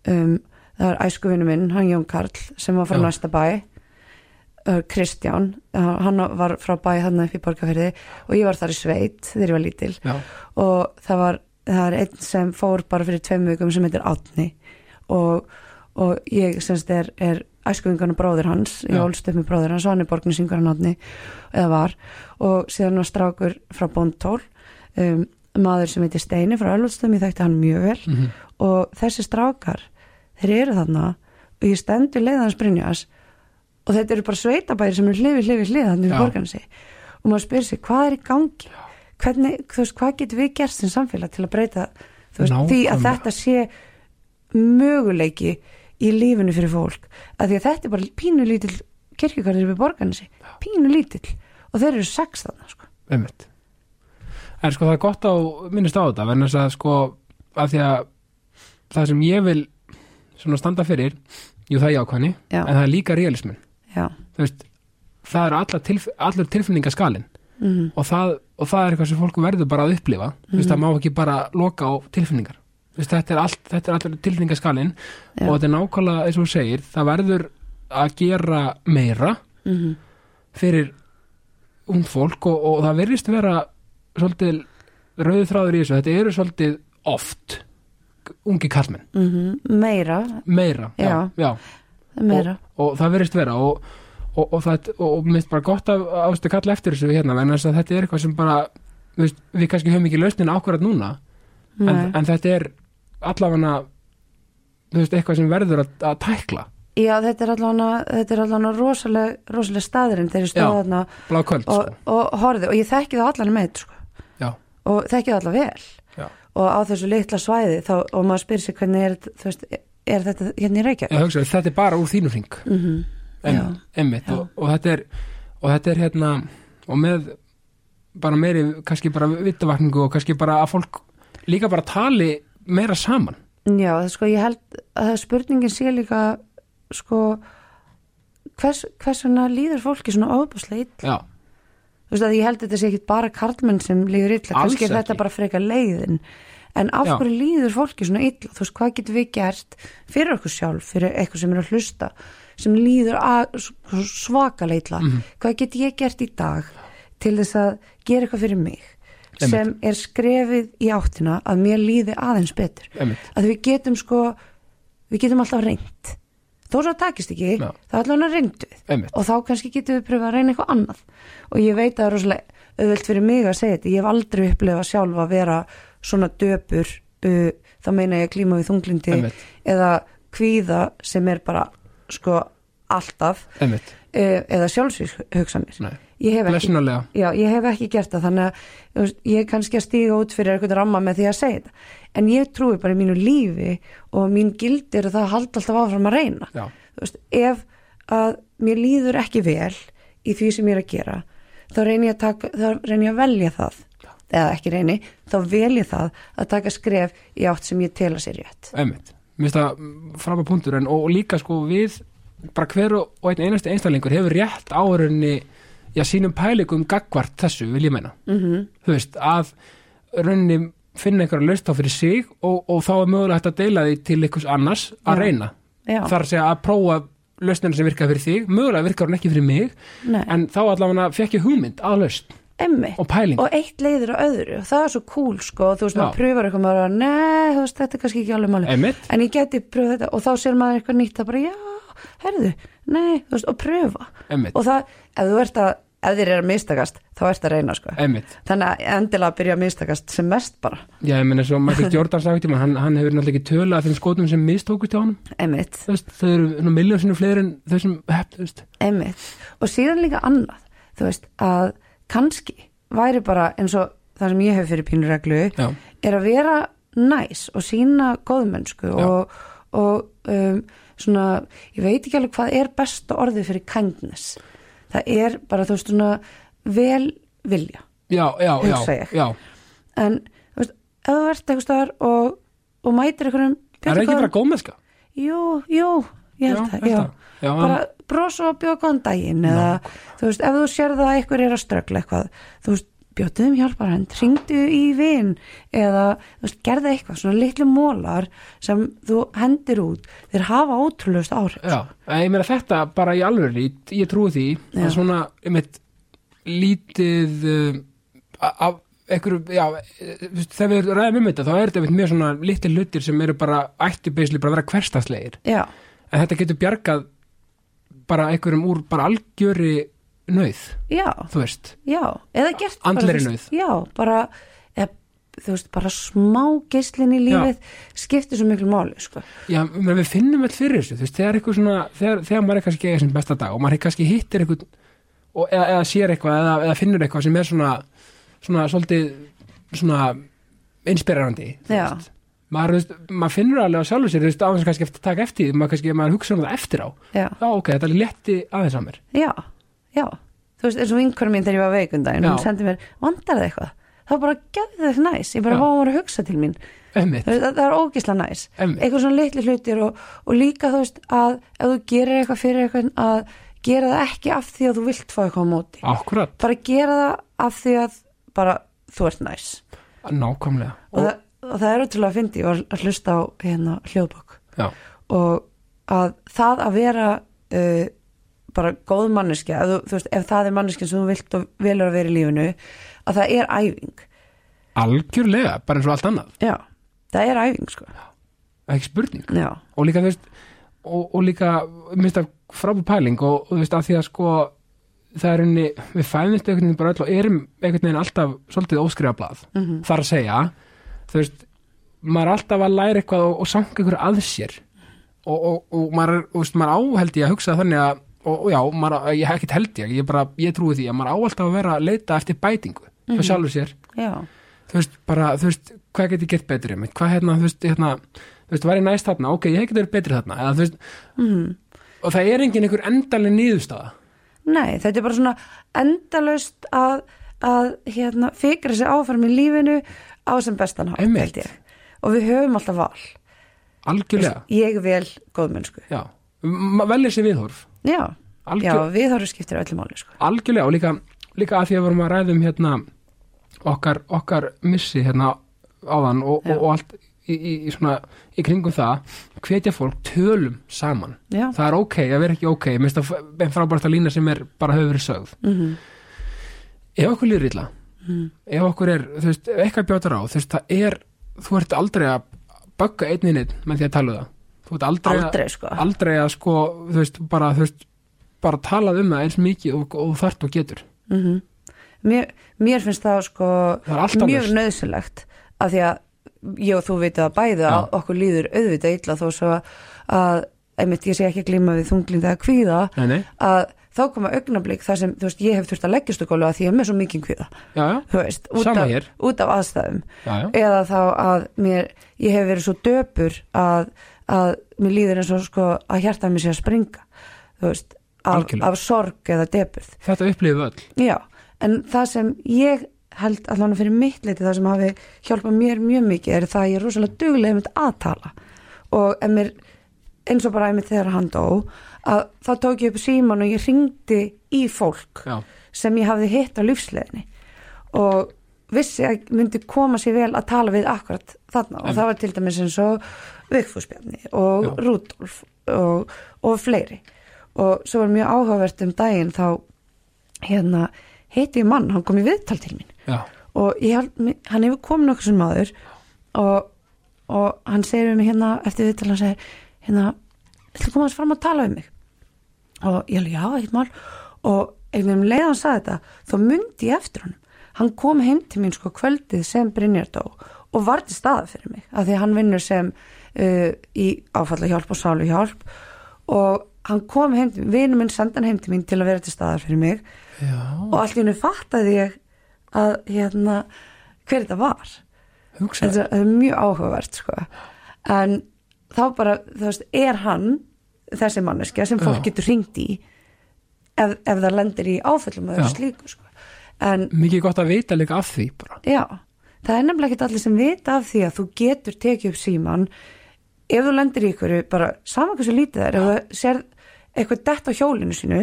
S2: um, það er æskuvinu minn, hann Jón Karl sem var frá
S1: Já.
S2: næsta bæ uh, Kristján, uh, hann var frá bæ þarna upp í Borgarfyrði og ég var þar í sveit þegar ég var lítil
S1: já.
S2: og það var það er einn sem fór bara fyrir tveim vikum sem heitir Átni og, og ég semst er, er æskuvingarnu bróðir hans, ég
S1: Já.
S2: ólst upp með bróðir hans og hann er borgnisingur hann Átni eða var og síðan var strákur frá Bóntól um, maður sem heitir Steini frá Ölvöldstöðum, ég þekkti hann mjög vel
S1: Mm
S2: og þessi strákar þeir eru þarna og ég stendur leiðans Brynjas og þetta eru bara sveitabæri sem eru hlifi, hlifi, hlifi
S1: Já.
S2: þannig við borgarnasi og maður spyrir sig hvað er í gangi Hvernig, þú veist, hvað getum við gert sem samfélag til að breyta þú veist, því að
S1: Nákvæmlega.
S2: þetta sé möguleiki í lífinu fyrir fólk að því að þetta er bara pínu lítill kirkjugarður við borgarnasi, pínu lítill og þeir eru sex þarna sko.
S1: einmitt en sko það er gott að minnast á þetta verðan þess að sko að því að það sem ég vil svona standa fyrir, jú það er jákvæðni
S2: Já.
S1: en það er líka realismin
S2: já,
S1: þú veist, það eru allar, tilf allar tilfinningaskalin
S2: Mhm.
S1: og, það, og það er eitthvað sem fólk verður bara að upplifa þú veist, það má ekki bara loka á tilfinningar þú veist, þetta er, allt, þetta er allar tilfinningaskalin
S2: Já.
S1: og þetta er nákvæmlega eins og þú segir það verður að gera meira
S2: mm
S1: fyrir ung fólk og, og það verðist vera svolítið rauði þráður í þessu þetta eru svolítið oft ungi kallmenn,
S2: mhm. meira
S1: meira
S2: Já.
S1: já,
S2: meira,
S1: Og, og það verðist vera og, og, og, það, og, og minnst bara gott að ástu kalla eftir þessu hérna en þess að þetta er eitthvað sem bara þú veist, við kannski höfum ekki lausnin ákvarðat núna en,
S2: Nei.
S1: en þetta er allavega þú veist, eitthvað sem verður að, að tækla
S2: já þetta er allan þetta er allan rosaleg, rosaleg staðurinn þeir eru
S1: Já.
S2: stóðaðna
S1: bláköld
S2: og,
S1: sko.
S2: og horfið og ég þekki það allan meitt sko.
S1: já,
S2: og þekki það allan vel
S1: já.
S2: og á þessu litla svæði þá, og maður spyrir sig hvernig er, þú veist, er þetta hérna í Reykjavík
S1: Ég hugsa, þetta er bara úr þínu hring
S2: mm
S1: Einmitt, einmitt. Og, og þetta er og þetta er hérna og með bara meiri kannski bara vitavakningu og kannski bara að fólk líka bara tali meira saman
S2: Já, það sko ég held að það spurningin sé líka sko hvers, hvers vegna líður fólki svona ofbúslega ill
S1: já,
S2: þú veist að ég held að þetta sé ekkit bara karlmenn sem líður illa,
S1: Alls
S2: kannski er
S1: ekki.
S2: þetta bara frekar leiðin en af
S1: Já.
S2: hverju líður fólki svona illa, þú veist hvað getum við gert fyrir okkur sjálf, fyrir eitthvað sem er að hlusta sem líður að svakalega illa,
S1: Mhm.
S2: hvað get ég gert í dag til þess að gera eitthvað fyrir mig
S1: Einmitt.
S2: sem er skrefið í áttina að mér líði aðeins betur
S1: Einmitt.
S2: að við getum sko við getum alltaf reynd þó svo að takist ekki,
S1: Já.
S2: þá allan að reyndu við
S1: einmitt,
S2: og þá kannski getum við pröfað að reyna eitthvað annað og ég veit að það er rosalega auðvelt fyrir mig að segja þetta, ég hef aldrei upplifað sjálf að vera svona döpur uh, þá meina ég að klíma við þunglindi
S1: Einmitt.
S2: eða kvíða sem er bara sko alltaf uh,
S1: einmitt
S2: eða sjálfsvíshugsanir
S1: Nei.
S2: ég hef ekki
S1: blessunarlega,
S2: Já, ég hef ekki gert það, þannig að þú veist, ég er kannski að stíga út fyrir eitthvað ramma með því að segja þetta. En ég trúi bara í mínu lífi og mín gildi eru það að halda alltaf áfram að reyna.
S1: Já.
S2: Þú veist, ef að mér líður ekki vel í því sem ég er að gera, þá reyni ég að, taka, þá reyni ég að velja það. Eða ekki reyni, þá vel ég það að taka skref í átt sem ég tela sér rétt.
S1: einmitt mér finnst það frábæð punktur en, og, og líka sko við bara hver og og einn einasti einstaklingur hefur rétt áhörinni já, sínum pælingum gagvart þessu vil ég meina
S2: Mhm.
S1: þú veist, að rauninni finna einhverja laust á fyrir sig og, og þá er mögulega hægt að deila því til einhvers annars að
S2: Já.
S1: reyna
S2: Já,
S1: þar að segja að prófa lausnina sem virka fyrir þig, mögulega virkar hún ekki fyrir mig
S2: Nei.
S1: en þá allavega fekk ég hugmynd að lausn
S2: emmi.
S1: og pæling
S2: og eitt leiðir á öðru og það er svo cool sko, þú veist,
S1: Já.
S2: maður pröfar eitthvað maður er að, nei, þú veist, þetta er kannski ekki alveg máli
S1: Einmitt.
S2: en ég geti pröfað þetta og þá sér maður eitthvað nýtt að bara, já, herðu nei, þú veist, og pröfa
S1: Einmitt.
S2: og það, ef þú ert að, ef þér er að mistakast þá ert að reyna, sko
S1: Einmitt.
S2: þannig að endilega að byrja að mistakast sem mest bara,
S1: Já, ég meina svo Michael Jordan sagði tíma, hann, hann hefur náttúrulega ekki tölu að þeim skotum sem mistókust á honum
S2: einmitt
S1: Þú veist, þau eru miljónsinu fleiri en þau sem hepp, þú veist
S2: Einmitt. Og síðan líka annað, þú veist, að kannski væri bara eins og það sem ég hef fyrir pínureglu
S1: Já.
S2: er að vera næs og sína góðmennsku
S1: Já.
S2: og, og um, svona, ég veit ekki alveg hvað er besta orðið fyrir kindness. Það er bara, þú veist, svona vel vilja.
S1: Já, já, já,
S2: Hugsa ég.
S1: já
S2: En, þú veist, ef þú ert eitthvað staðar og, og mætir einhverjum
S1: Það er ekki bara góðmennska
S2: Jú, jú, ég
S1: Já,
S2: held það,
S1: held
S2: já.
S1: það. Já,
S2: bara bros og bjóð góðan daginn eða, þú veist, ef þú sérð að einhver er að ströggla eitthvað, þú veist, bjóttuðum hjálpar hann, ringdu í vin eða, þú veist, gerðu eitthvað, svona litlu mólar sem þú hendir út þeir hafa ótrúlegust áhrif
S1: Já, en ég meina þetta bara í alveg ég, ég trúi því
S2: Já.
S1: að svona einmitt, lítið uh, af einhverju, já, eh, þú veist, þegar við ræðum um þetta þá er þetta einmitt mjög svona lítið hlutir sem eru bara ættu beisli bara að vera hverstaslegir
S2: Já,
S1: en þetta getur bjargað bara einhverjum úr bara algjöri nöð,
S2: já,
S1: þú veist
S2: já eða gert bara,
S1: Andlegri
S2: þú veist, Já, bara eða, þú veist, bara smá geislin í lífið skiptir svo miklu máli, sko.
S1: Já, ég meina, við finnum allt fyrir þessu, þú veist, þegar eitthvað svona, þegar, þegar maður er kannski ekki sem besta dag og maður er kannski hittir eitthvað og, eða, eða sér eitthvað eða, eða finnur eitthvað sem er svona, svona, svolítið, svona inspirerandi, þú
S2: Já.
S1: veist. Maður, þú veist, maður finnur alveg á sjálfu sér, þú veist, aðeins kannski eftir taka eftir, því, maður kannski, maður hugsa um það eftir á.
S2: Já,
S1: Já, ok, þetta létti aðeins að mér.
S2: já, já. Þú veist, eins og vinkunum mín þegar ég var veikundaginn, hún
S1: Já.
S2: sendi mér, vandar það eitthvað? Það var bara gefði það næs, ég bara
S1: Já.
S2: vá hún var að hugsa til mín.
S1: Einmitt,
S2: Þú veist, það það er ógisla næs.
S1: einmitt,
S2: Eitthvað svona litli hlutir og, og líka þú veist að ef þú gerir eitthvað fyrir eitthvað að gera það ekki af því að þú vilt fá eitthvað á móti.
S1: akkurat,
S2: Bara gera það af því að bara þú ert næs.
S1: nákvæmlega.
S2: og, það, og það er útrúlega að fyndi ég var að hlusta á hérna hljóðbók
S1: Já,
S2: og að það að vera uh, bara góð manneskja ef, þú, þú veist, ef það er manneskja sem þú vilt og velur að vera í lífinu að það er æfing
S1: algjörlega, bara eins og allt annað,
S2: já, það er æfing sko
S1: ekki spurning.
S2: já,
S1: og líka þú veist og, og líka, minnst það frábú pæling og, og þú veist að því að sko það er unni, við fæðumst einhvern veginn bara öll og erum einhvern veginn alltaf svolítið óskrifablað
S2: Mhm.
S1: þar að segja þú veist, maður er alltaf að læra eitthvað og, og sanga ykkur að sér og, og, og maður, er- þú veist, maður áheld ég að hugsa þannig að og, og já, maður, á- ég hef ekkert held ég ég, bara, ég trúi því að maður á alltaf að vera að leita eftir bætingu mm sjálfur sér
S2: já,
S1: þú veist, bara, þú veist, hvað get ég gett betri um hvað hérna, þú veist, hérna þú veist, var ég næst þarna, ok, ég hef getið verið betri þarna eða, þú veist,
S2: Mhm.
S1: og það er engin einhver endaleg niðurstaða
S2: nei, þetta er bara svona endalaust að, að hérna, fikra sig áfram í lífinu á sem bestan hátt
S1: Einmitt.
S2: held ég. og við höfum alltaf val
S1: algjörlega,
S2: ég vel góðmennsku
S1: já, maður velja sér viðhorf
S2: já, já,
S1: algjör,
S2: við þarfum skiptir öllu máli sko.
S1: algjörlega og líka, líka að því að vorum að ræðum hérna okkar, okkar missi hérna áðan og,
S2: Já.
S1: og, og allt í, í, í svona, í kringum það hvetja fólk tölum saman
S2: já,
S1: það er ok, það verður ekki ok minnst að einn frábært að lína sem er bara höfur verið sögð
S2: mm
S1: ef okkur líður illa
S2: Mm.
S1: ef okkur er, þú veist, ef eitthvað bjótar á þú veist, það er, þú ert aldrei að bögga einnin einn með því að tala um það þú ert aldrei, að-
S2: aldrei sko
S1: aldrei að sko, þú veist, bara þú veist, bara talað um það eins mikið og, og þart og getur
S2: mm mér, mér finnst það sko
S1: Það er alltaf
S2: mjög
S1: lausn.
S2: nöðsynlegt af því að ég og þú veitum að bæði að
S1: Já.
S2: okkur líður auðvitað illa þó svo að einmitt ég sé ekki að glíma við þunglinda að kvíða
S1: nei, nei,
S2: að þá koma augnablík þar sem þú veist ég hef þurft að leggjast og gólu að því ég er með svo mikið kvíða
S1: já, já,
S2: þú veist, út,
S1: Sama
S2: af,
S1: hér.
S2: út af aðstæðum
S1: já, já.
S2: eða þá að mér, ég hef verið svo döpur að, að mér líður eins og sko að hjarta mér sé að springa þú veist, af,
S1: Algjörlega.
S2: af sorg eða döpurð
S1: þetta upplifum við öll
S2: Já, en það sem ég held allan fyrir mitt leiti það sem hafi hjálpað mér mjög mikið er það að ég er rosalega duglega einmitt að tala og en mér eins og bara einmitt þegar hann dó að þá tók ég upp síman og ég ringdi í fólk
S1: já,
S2: sem ég hafði hitt á lífsleðinni og vissi að myndi koma sér vel að tala við akkurat þarna og
S1: Einmitt.
S2: það var til dæmis eins og Vigfúsbjarni og
S1: Já.
S2: Rúdolf og, og fleiri og svo var mjög áhugavert um daginn þá hérna heiti ég mann, hann kom í viðtal til mín
S1: já,
S2: og ég, held- mi- hann hefur komin okkur sem maður og, og hann segir við mig hérna eftir viðtal hann segir hérna, ætla að koma hans fram að tala við mig og ég alveg, já, ekkert mál og einhvern veginn um leið og hann sagði þetta þá myndi ég eftir honum hann kom heim til mín sko kvöldið sem Brynjar dó og var til staða fyrir mig af því að hann vinnur sem uh, í áfallahjálp og sáluhjálp og hann kom heim til mín, vinur minn sendi hann heim til mín til að vera til staða fyrir mig
S1: já
S2: og allt í hennu fattaði ég að hérna hver þetta var
S1: hugsa,
S2: þetta þetta er mjög áhugavert sko en þá bara, þú veist, er hann þessi manneskja sem fólk
S1: Já.
S2: getur ringt í ef, ef það lendir í áföllum og
S1: Já.
S2: öðru slíku sko en
S1: mikið gott að vita líka af því bara,
S2: já, það er nefnilega ekki allir sem vita af því að þú getur tekið upp síman ef þú lendir í ykkur bara saman hversu lítið það er ef þú sér eitthvað dett á hjólinu sínu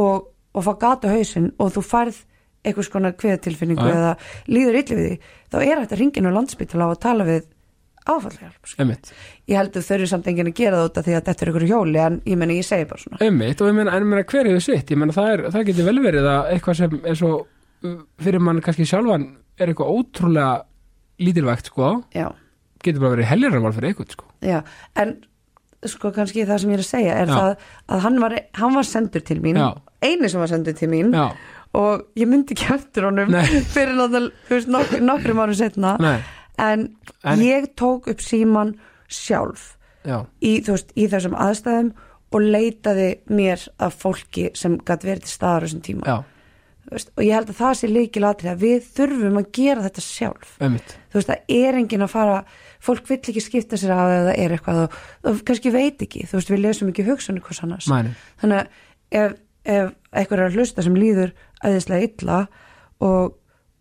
S2: og, og fá gata hausinn og þú færð einhvers konar kveðatilfinningu
S1: Já.
S2: eða líður illi við því þá er þetta ringin á landspítala og tala við áfallahjálp sko.
S1: einmitt
S2: ég held að þau eru samt enginn að gera það út af því að þetta er ykkur hjóli en ég meina ég segi bara svona
S1: Einmitt, og ég meina, en ég meina hver hefur sitt ég meina það, er, það getur vel verið að eitthvað sem er svo uh, fyrir mann kannski sjálfan er eitthvað ótrúlega lítilvægt sko,
S2: já,
S1: getur bara verið heljaramál fyrir eitthvað sko.
S2: já, en sko kannski það sem ég er að segja er
S1: Já.
S2: það að hann var, hann var sendur til mín
S1: Já.
S2: einu sem var sendur til mín
S1: Já,
S2: og ég myndi ekki eftir honum
S1: Nei.
S2: fyrir náttúrulega, þú veist, nok nokkrum árum setna
S1: Nei,
S2: en,
S1: En-
S2: ég tók upp síman sjálf
S1: já,
S2: í, þú veist, í þessum aðstæðum og leitaði mér af fólki sem gæti verið til staðar á þessum tíma
S1: já,
S2: Þú veist, og ég held að það sé líkilatri að við þurfum að gera þetta sjálf
S1: einmitt
S2: þú veist, það er enginn að fara fólk vill ekki skipta sér af eða það er eitthvað og, og kannski veit ekki, þú veist, við lesum ekki hugsunni hvers annars
S1: Mæni,
S2: þannig að ef, ef eitthvað er að hlusta sem líður æðislega illa og,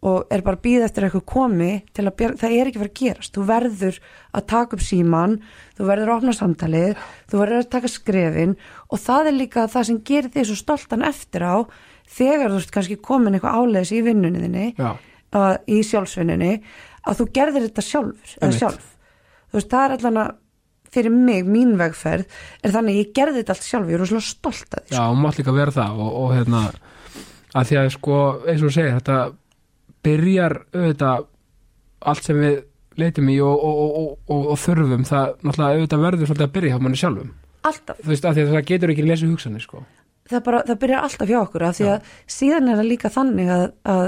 S2: og er bara að býða eftir að eitthvað komi til að bjarga, það er ekki að fara að gerast þú verður að taka upp síman þú verður að opna samtalið þú verður að taka skrefin og það er líka það sem gerir þig svo stoltan eftir á þegar þú veist kannski komin eitthvað áleiðis í vinnunni þinni
S1: já,
S2: að, uh, í sjálfsvinninni að þú gerðir þetta sjálfur eða
S1: Einmitt.
S2: sjálf þú veist, það er allan að fyrir mig, mín vegferð er þannig að ég gerði þetta allt sjálfur, ég er rosalega stolt að því
S1: já, og mátt líka vera það og, og hérna, að því að sko eins og þú segir, þetta byrjar auðvitað allt sem við leitum í og, og, og, og, og þurfum, það náttúrulega auðvitað verður svolítið að byrja hjá manni sjálfum
S2: alltaf,
S1: þú veist, að því að það getur ekki lesið hugsanir sko.
S2: það, bara, það byrjar alltaf hjá okkur af því að síðan er það líka þannig að, að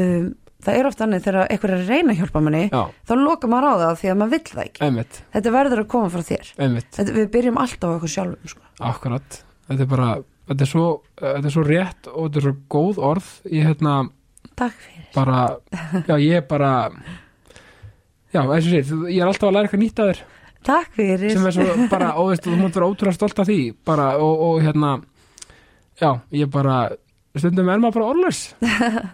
S2: um, það er oft þannig þegar einhver er að reyna að hjálpa manni
S1: já,
S2: þá lokar maður á það af því að maður vill það ekki
S1: einmitt,
S2: þetta verður að koma frá þér
S1: einmitt
S2: þetta, við byrjum alltaf á okkur sjálfum sko.
S1: Akkurat, þetta er bara þetta er svo, þetta er svo rétt og þetta er svo góð orð ég hérna
S2: takk fyrir,
S1: bara já ég er bara já eins og sér, ég er alltaf að læra eitthvað nýtt að þér
S2: takk fyrir
S1: sem er svo bara, og veist, þú mátt vera ótrúlega stolt af því bara og, og hérna já, ég bara stundum er maður bara orðlös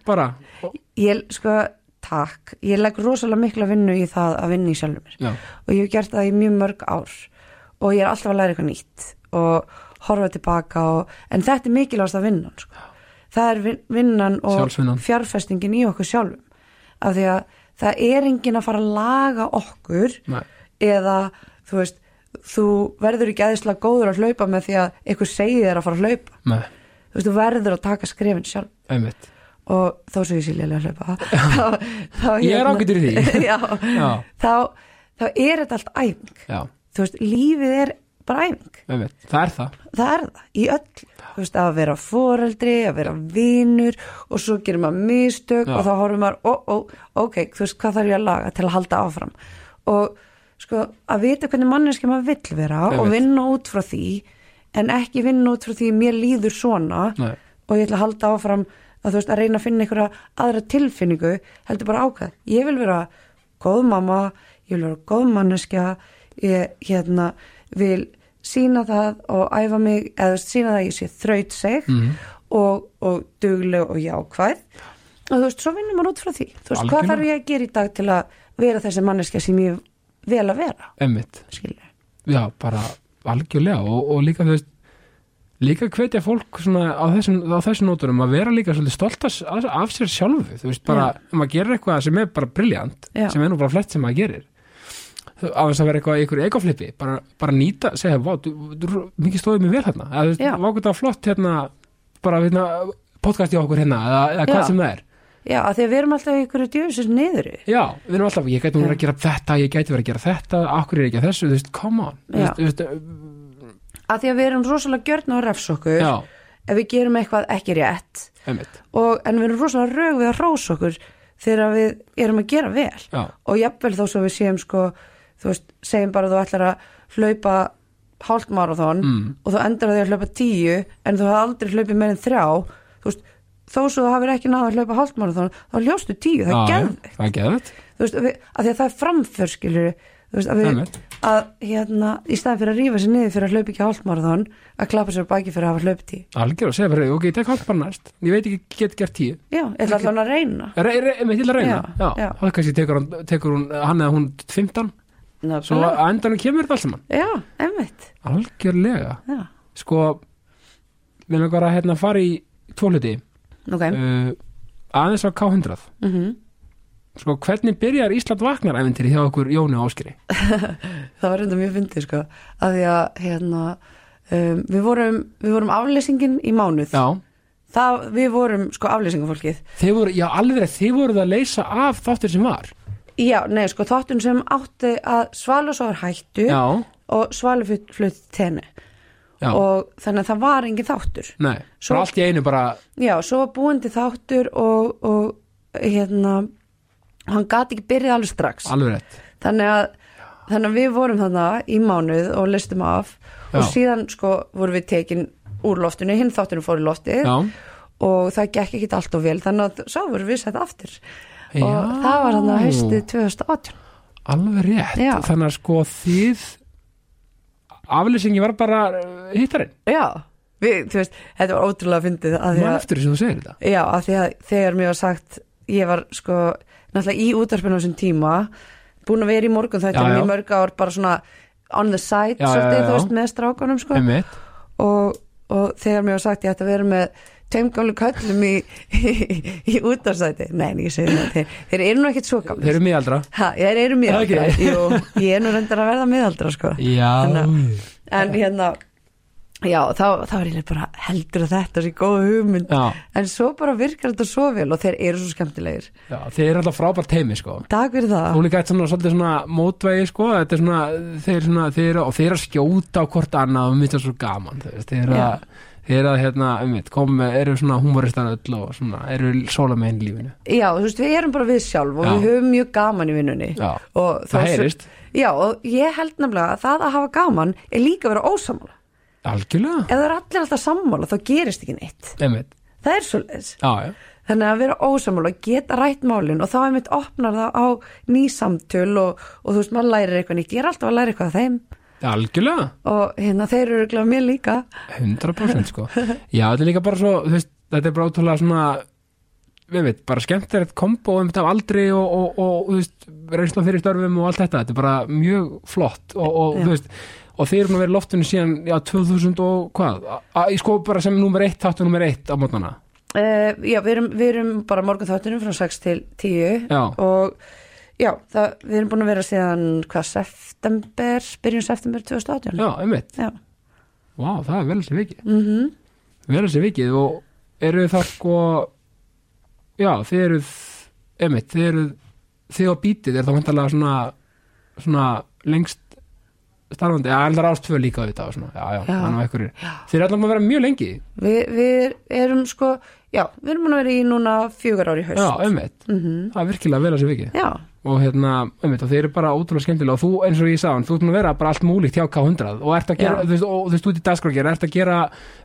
S1: bara, og,
S2: ég, sko, takk ég legg rosalega mikla vinnu í það að vinna í sjálfur mér
S1: já,
S2: og ég hef gert það í mjög mörg ár og ég er alltaf að læra eitthvað nýtt og horfa tilbaka og, en þetta er mikilvægast að vinnan sko. það er vin- vinnan og
S1: Sjálfsvinnan.
S2: fjárfestingin í okkur sjálfum af því að það er enginn að fara að laga okkur
S1: Nei.
S2: eða þú veist þú verður ekki aðeinslega góður að hlaupa með því að einhver segir þér að fara að hlaupa
S1: með,
S2: þú veist, þú verður að taka skrefin sjálf
S1: einmitt
S2: og þó sem ég sé lélega að hlaupa þá, þá,
S1: Ég er ágætur í því.
S2: já,
S1: Já.
S2: Þá, þá er þetta allt æfing
S1: já,
S2: þú veist, lífið er bara æfing
S1: einmitt, það er það
S2: það er það, í öll þú veist, að vera foreldri, að vera vinur og svo gerir maður mistök
S1: Já.
S2: og þá horfum maður, ó, ó, ok þú veist, hvað þarf ég að laga til að halda áfram og sko, að vita hvernig manneski maður vill vera
S1: Einmitt.
S2: og vinna út frá því en ekki vinna út frá því mér líður svona
S1: Nei.
S2: og ég ætla að halda áfram að þú veist, að reyna að finna einhverja aðra tilfinningu heldur bara ákvað, ég vil vera góð mamma, ég vil vera góð manneskja ég hérna vil sína það og æfa mig, eða þú veist, sína það að ég sé þraut seg
S1: Mhm.
S2: og, og dugleg og jákvæð og þú veist, svo vinnum maður út frá því þú veist,
S1: Algjörlega.
S2: hvað þarf ég að gera í dag til að vera þessi manneskja sem ég vel að vera
S1: einmitt
S2: skilur,
S1: já, bara algjörlega og, og líka þú veist líka hvetja fólk svona á þessum, á þessum nóturum að vera líka svolítið stolt af, af- af sér sjálfu, þú veist, bara ef maður gerir eitthvað sem er bara briljant,
S2: Já.
S1: sem er nú bara flest sem maður gerir Þú- á þess að vera eitthvað í einhverju ekoflipi, bara, bara nýta segja, vá, þú, þú, þú mikið stóðið mér vel hérna eða þú
S2: Já.
S1: veist, vá, hvað það var flott hérna bara, hérna, podcast í okkur hérna eða, eða hvað
S2: Já.
S1: sem það er,
S2: já, af því að við erum alltaf í ykkur djöfisins niður
S1: já, við erum alltaf ég gæti nú verið að gera þetta, ég gæti verið að gera þetta akkur er ég ekki að þessu, þú veist, come on þú
S2: Já.
S1: veist, þú veist,
S2: af því að við erum rosalega gjörn og refs okkur
S1: já,
S2: ef við gerum eitthvað ekki rétt
S1: einmitt
S2: og, en við erum rosalega rög við að rósa okkur þegar við erum að gera vel
S1: Já.
S2: og jafnvel þó svo við séum sko, þú veist, segjum bara að þú ætlar að hlaupa hálft marathon mm. og þú endur að því að hlaupa tíu en þú hafði aldrei hlaupið meir en þrjá þú veist, þó svo þú hafir ekki náða að hlaupa hálft marathon þá hljóstu tíu, það
S1: Já, já,
S2: er geðveikt
S1: Það er geðveikt,
S2: þú veist, að, við, að því að það er framför skilur þú veist, að við,
S1: Einmitt.
S2: að hérna í staðan fyrir að rífa sér niður fyrir að hlaupa ekki hálftmarathon, að klappa sér á baki fyrir að hafa hlaupti,
S1: algjör og segja bara ok, ég tek hálf bara næst, ég veit ekki, ég get gert tíu
S2: já, ég ætla allan að reyna
S1: Re- re- einmitt til að reyna,
S2: Já,
S1: já,
S2: já.
S1: þá kannski tekur hann, tekur hún, hann eða hún 15 svo
S2: Nákvæmlega.
S1: að endanum kemur þetta alls saman
S2: já, emmitt
S1: algjörlega,
S2: já,
S1: sko við langar að hérna fara í tvo hluti
S2: ok Mhm.
S1: uh,
S2: mm
S1: aðeins á K100 sko, hvernig byrjar Ísland vaknar æventýri hjá okkur Jóni og Áskeri
S2: það var reynda mjög fyndið sko að því að hérna um, við vorum, við vorum aflýsingin í mánuð
S1: já,
S2: það, við vorum sko aflýsingafólkið
S1: þeir voru, já alveg þeir voru það að leysa af þáttur sem var
S2: já, nei, sko þáttun sem átti að svala svo er hættu
S1: já,
S2: og svala flutt tenni
S1: Já.
S2: og þannig að það var engin þáttur
S1: Nei,
S2: Svo-
S1: svo allt í einu bara
S2: Já, svo var búin til þáttur og, og hérna og hann gat ekki byrjað alveg strax
S1: alveg rétt
S2: þannig að, þannig að við vorum þarna í mánuð og listum af og
S1: Já.
S2: síðan sko vorum við tekin úr loftinu, hinn þáttunum fór í loftið
S1: Já,
S2: og það gekk ekkit allt og vel þannig að svo vorum við sett aftur
S1: Já.
S2: og það var þannig að haustið 2018
S1: alveg rétt
S2: Já.
S1: Þannig að sko þið aflýsingi var bara eh, hittarinn
S2: Já, við, þú veist, þetta var ótrúlega fyndið að því
S1: Man
S2: að,
S1: eftir þessu þú segir þetta
S2: já, að því að þegar mér var sagt ég var sko náttúrulega í útarpinu á þessum tíma búin að vera í
S1: Já,
S2: morgun
S1: já.
S2: þættinum í mörg ár bara svona on the side
S1: Já, já,
S2: svolítið,
S1: já,
S2: þú
S1: já.
S2: veist, með strákunum sko
S1: Einmitt.
S2: og, og þegar mér var sagt ég ætti að vera með tveimgálu köllum í, í, í útastæti nei, en ég segi það, þeir, þeir eru nú ekkit svo gamli
S1: Þeir eru miðaldra
S2: ha, þeir eru miðaldra
S1: Ok.
S2: Jú, ég er nú reyndar að verða miðaldra sko.
S1: Já,
S2: en hérna já, þá, þá er ég bara heldur að þetta sé góð hugmynd
S1: já,
S2: en svo bara virkar þetta svo vel og þeir eru svo skemmtilegir
S1: já Þeir eru alltaf frábært heimi sko
S2: takk fyrir það
S1: Hún er gætt svona svolítið svona mótvegi sko Þetta er svona, þeir eru svona, þeir eru og þeir eru að skjóta á hvort annað og mitt er svo gaman þú veist, Þeir eru að, þeir eru að hérna, einmitt, komu með, eru svona humoristar öll og svona, eru sóla með einn lífinu
S2: já, þú veist, við erum bara við sjálf og
S1: Já.
S2: við höfum mjög gaman í vinnunni
S1: Já,
S2: Og
S1: það
S2: þó svo-
S1: heyrist
S2: Já, og ég held nefnilega að það að hafa gaman er líka að vera ósamála.
S1: Algjörlega,
S2: Ef það er allir alltaf sammála þá gerist ekki neitt.
S1: einmitt,
S2: Það er svoleiðis.
S1: já, já
S2: Þannig að vera ósamála, geta rætt málin og þá einmitt opnar það á ný samtöl og, og þú veist, maður lærir eitthvað nýtt. Ég er alltaf að læra eitthvað af þeim
S1: Algjörlega,
S2: og hérna þeir eru glæð mér líka.
S1: 100% sko Já, þetta er líka bara svo, þú veist, þetta er bara ótrúlega svona við veit, bara skemmtilegt kombo um þetta af aldri og, og, og þú veist, reynsla fyrir störfum og allt þetta, þetta er bara mjög flott og, og
S2: Já.
S1: þú veist, og þeir eru að vera í loftinu síðan, já, 2000 og hvað A- a- í sko bara sem nummer eitt, þáttu nummer eitt á mótnana,
S2: Uh, já, við erum, við erum bara morgun þáttunum frá 6 til 10
S1: Já.
S2: og já, það, við erum búin að vera síðan hvað, september, byrjun september 2018.
S1: já, einmitt
S2: Já.
S1: Vá, það er vel þessi vikið,
S2: Mm
S1: vel þessi vikið og eru það sko já, þeir eru einmitt, þeir eru þið á bítið er það vantarlega svona svona lengst starfandi, já, en það er ástföð líka við þetta svona, já, já,
S2: Já.
S1: þannig að ykkur þeir eru allan að vera mjög lengi
S2: Vi, við erum sko, já, við erum búin að vera í núna fjögur ári í haust.
S1: Já, einmitt,
S2: Mhm.
S1: það er virkilega vel að sér vikið
S2: Já,
S1: og hérna, einmitt, og þeir eru bara ótrúlega skemmtilega og þú, eins og ég sagði, hann, þú ert nú að vera bara allt múlíkt hjá K100 og ert að gera,
S2: Já.
S1: þú veist, og þú veist, út í dagskrákir ert að gera,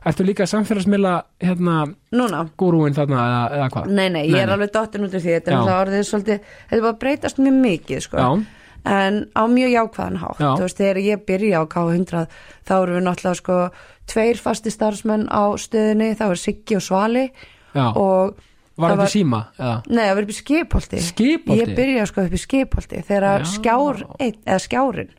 S1: ertu líka samfélagsmiðla hérna,
S2: núna.
S1: gúrúin þarna eða, eða hvað?
S2: Nei, nei, ég
S1: Nei,
S2: er
S1: nei.
S2: alveg dottin út af því, þetta
S1: Já.
S2: er það orðið svolítið, þetta er bara að breytast mjög mikið, sko.
S1: Já.
S2: En á mjög jákvæðan hátt,
S1: Já.
S2: þú veist, þegar ég byrja á K100, þá eru við náttúrulega sko tveir fasti starfsmenn á stöðinni, þá er Siggi og Svali
S1: Já,
S2: og
S1: var
S2: það
S1: þetta í síma? Eða?
S2: Nei, það var upp í skipholti.
S1: Skipholti?
S2: Ég byrja sko upp í skipholti þegar
S1: Já.
S2: skjár, einn, eða skjárin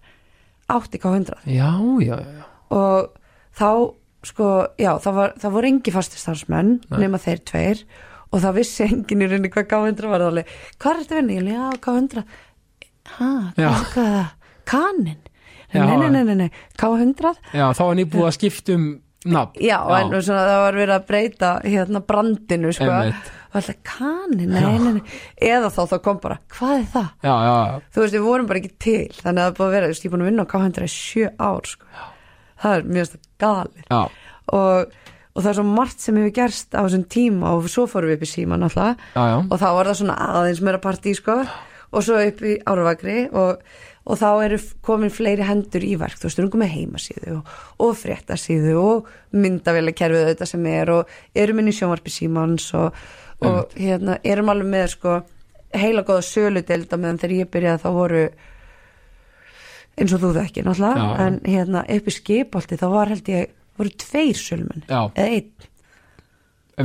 S2: átti K100.
S1: Já, já, já,
S2: og þá sko, já, þá, var, þá voru engi fastir starfsmenn nema þeir tveir og það vissi enginn í rauninni hvað K100 var alveg, hvað er þetta vinni? Ég alveg, já, K100 ha,
S1: Já.
S2: hvað, hvað er það? Kanin?
S1: Já.
S2: Nei, nei, nei, nei, nei, K100
S1: já, þá var nýbúið að skipta um nafn.
S2: Já, en svona, það var verið að breyta hérna brandinu, sko
S1: Einmitt.
S2: og alltaf kanin, nei, nei, nei eða þá þá kom bara, hvað er það?
S1: Já, já, já,
S2: Þú veist, við vorum bara ekki til þannig að það er búið að vera, þú veist, ég er búin að vinna á K100 í sjö ár, sko það er mjög galið
S1: já,
S2: og, og það er svo margt sem hefur gerst á þessum tíma og svo fórum við upp í síman alltaf
S1: já, já.
S2: og þá var það svona aðeins meira partí sko og svo upp í Árvakri og, og þá eru f- komin fleiri hendur í verk, þú veist, við erum komið heimasíðu og, og fréttasíðu og myndavélakerfið þetta sem er og erum inn í sjónvarpi símans og, og hérna, erum alveg með sko heila góða söludelda meðan þegar ég byrjaði þá voru eins og þú þekki náttúrulega,
S1: Já, já.
S2: en hérna upp í skipolti þá var held ég, voru tveir sölumenn,
S1: Já.
S2: eða einn
S1: Einmitt.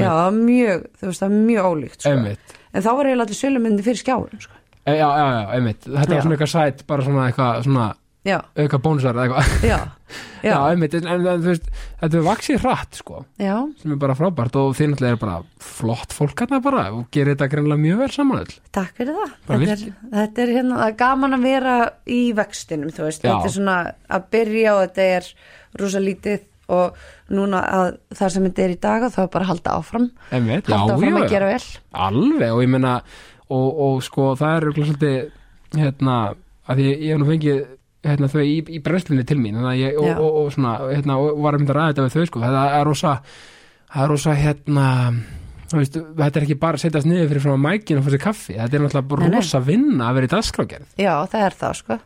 S2: já, það var mjög, þú veist, það var mjög ólíkt sko.
S1: Einmitt.
S2: En þá var eiginlega allir sölumyndi fyrir skjáin sko.
S1: E, já, já, já, einmitt. Þetta
S2: Já.
S1: var svona eitthvað sætt, bara svona eitthvað, svona
S2: Já,
S1: auka bónusar eða eitthvað.
S2: já,
S1: Já,
S2: já,
S1: einmitt, en, en þú veist, þetta er vaksið hratt, sko,
S2: já,
S1: sem er bara frábært og þið náttúrulega er bara flott fólk hérna bara og gerir þetta greinlega mjög vel saman öll.
S2: takk fyrir það
S1: Bara
S2: þetta er, þetta er hérna, það er gaman að vera í vextinum, þú veist
S1: Já.
S2: Þetta er svona að byrja og þetta er rosa lítið og núna að það sem þetta er í dag þá er bara að halda áfram
S1: Einmitt, já,
S2: Halda áfram
S1: já,
S2: að gera
S1: já.
S2: vel
S1: Alveg, og ég meina, og, og sko, það er örugglega svolítið, hérna, að ég, ég hef nú fengið hérna, þau í, í brennslunni til mín þannig að ég, og,
S2: Já.
S1: og, og, svona, hérna, og var að mynda að ræða þetta við þau sko, það er rosa það er rosa hérna þú veist, þetta er ekki bara að setjast niður fyrir frá mækinu og fá sér kaffi, þetta er náttúrulega
S2: Nei, nei.
S1: rosa vinna að vera í dagskrágerð
S2: já, það er það sko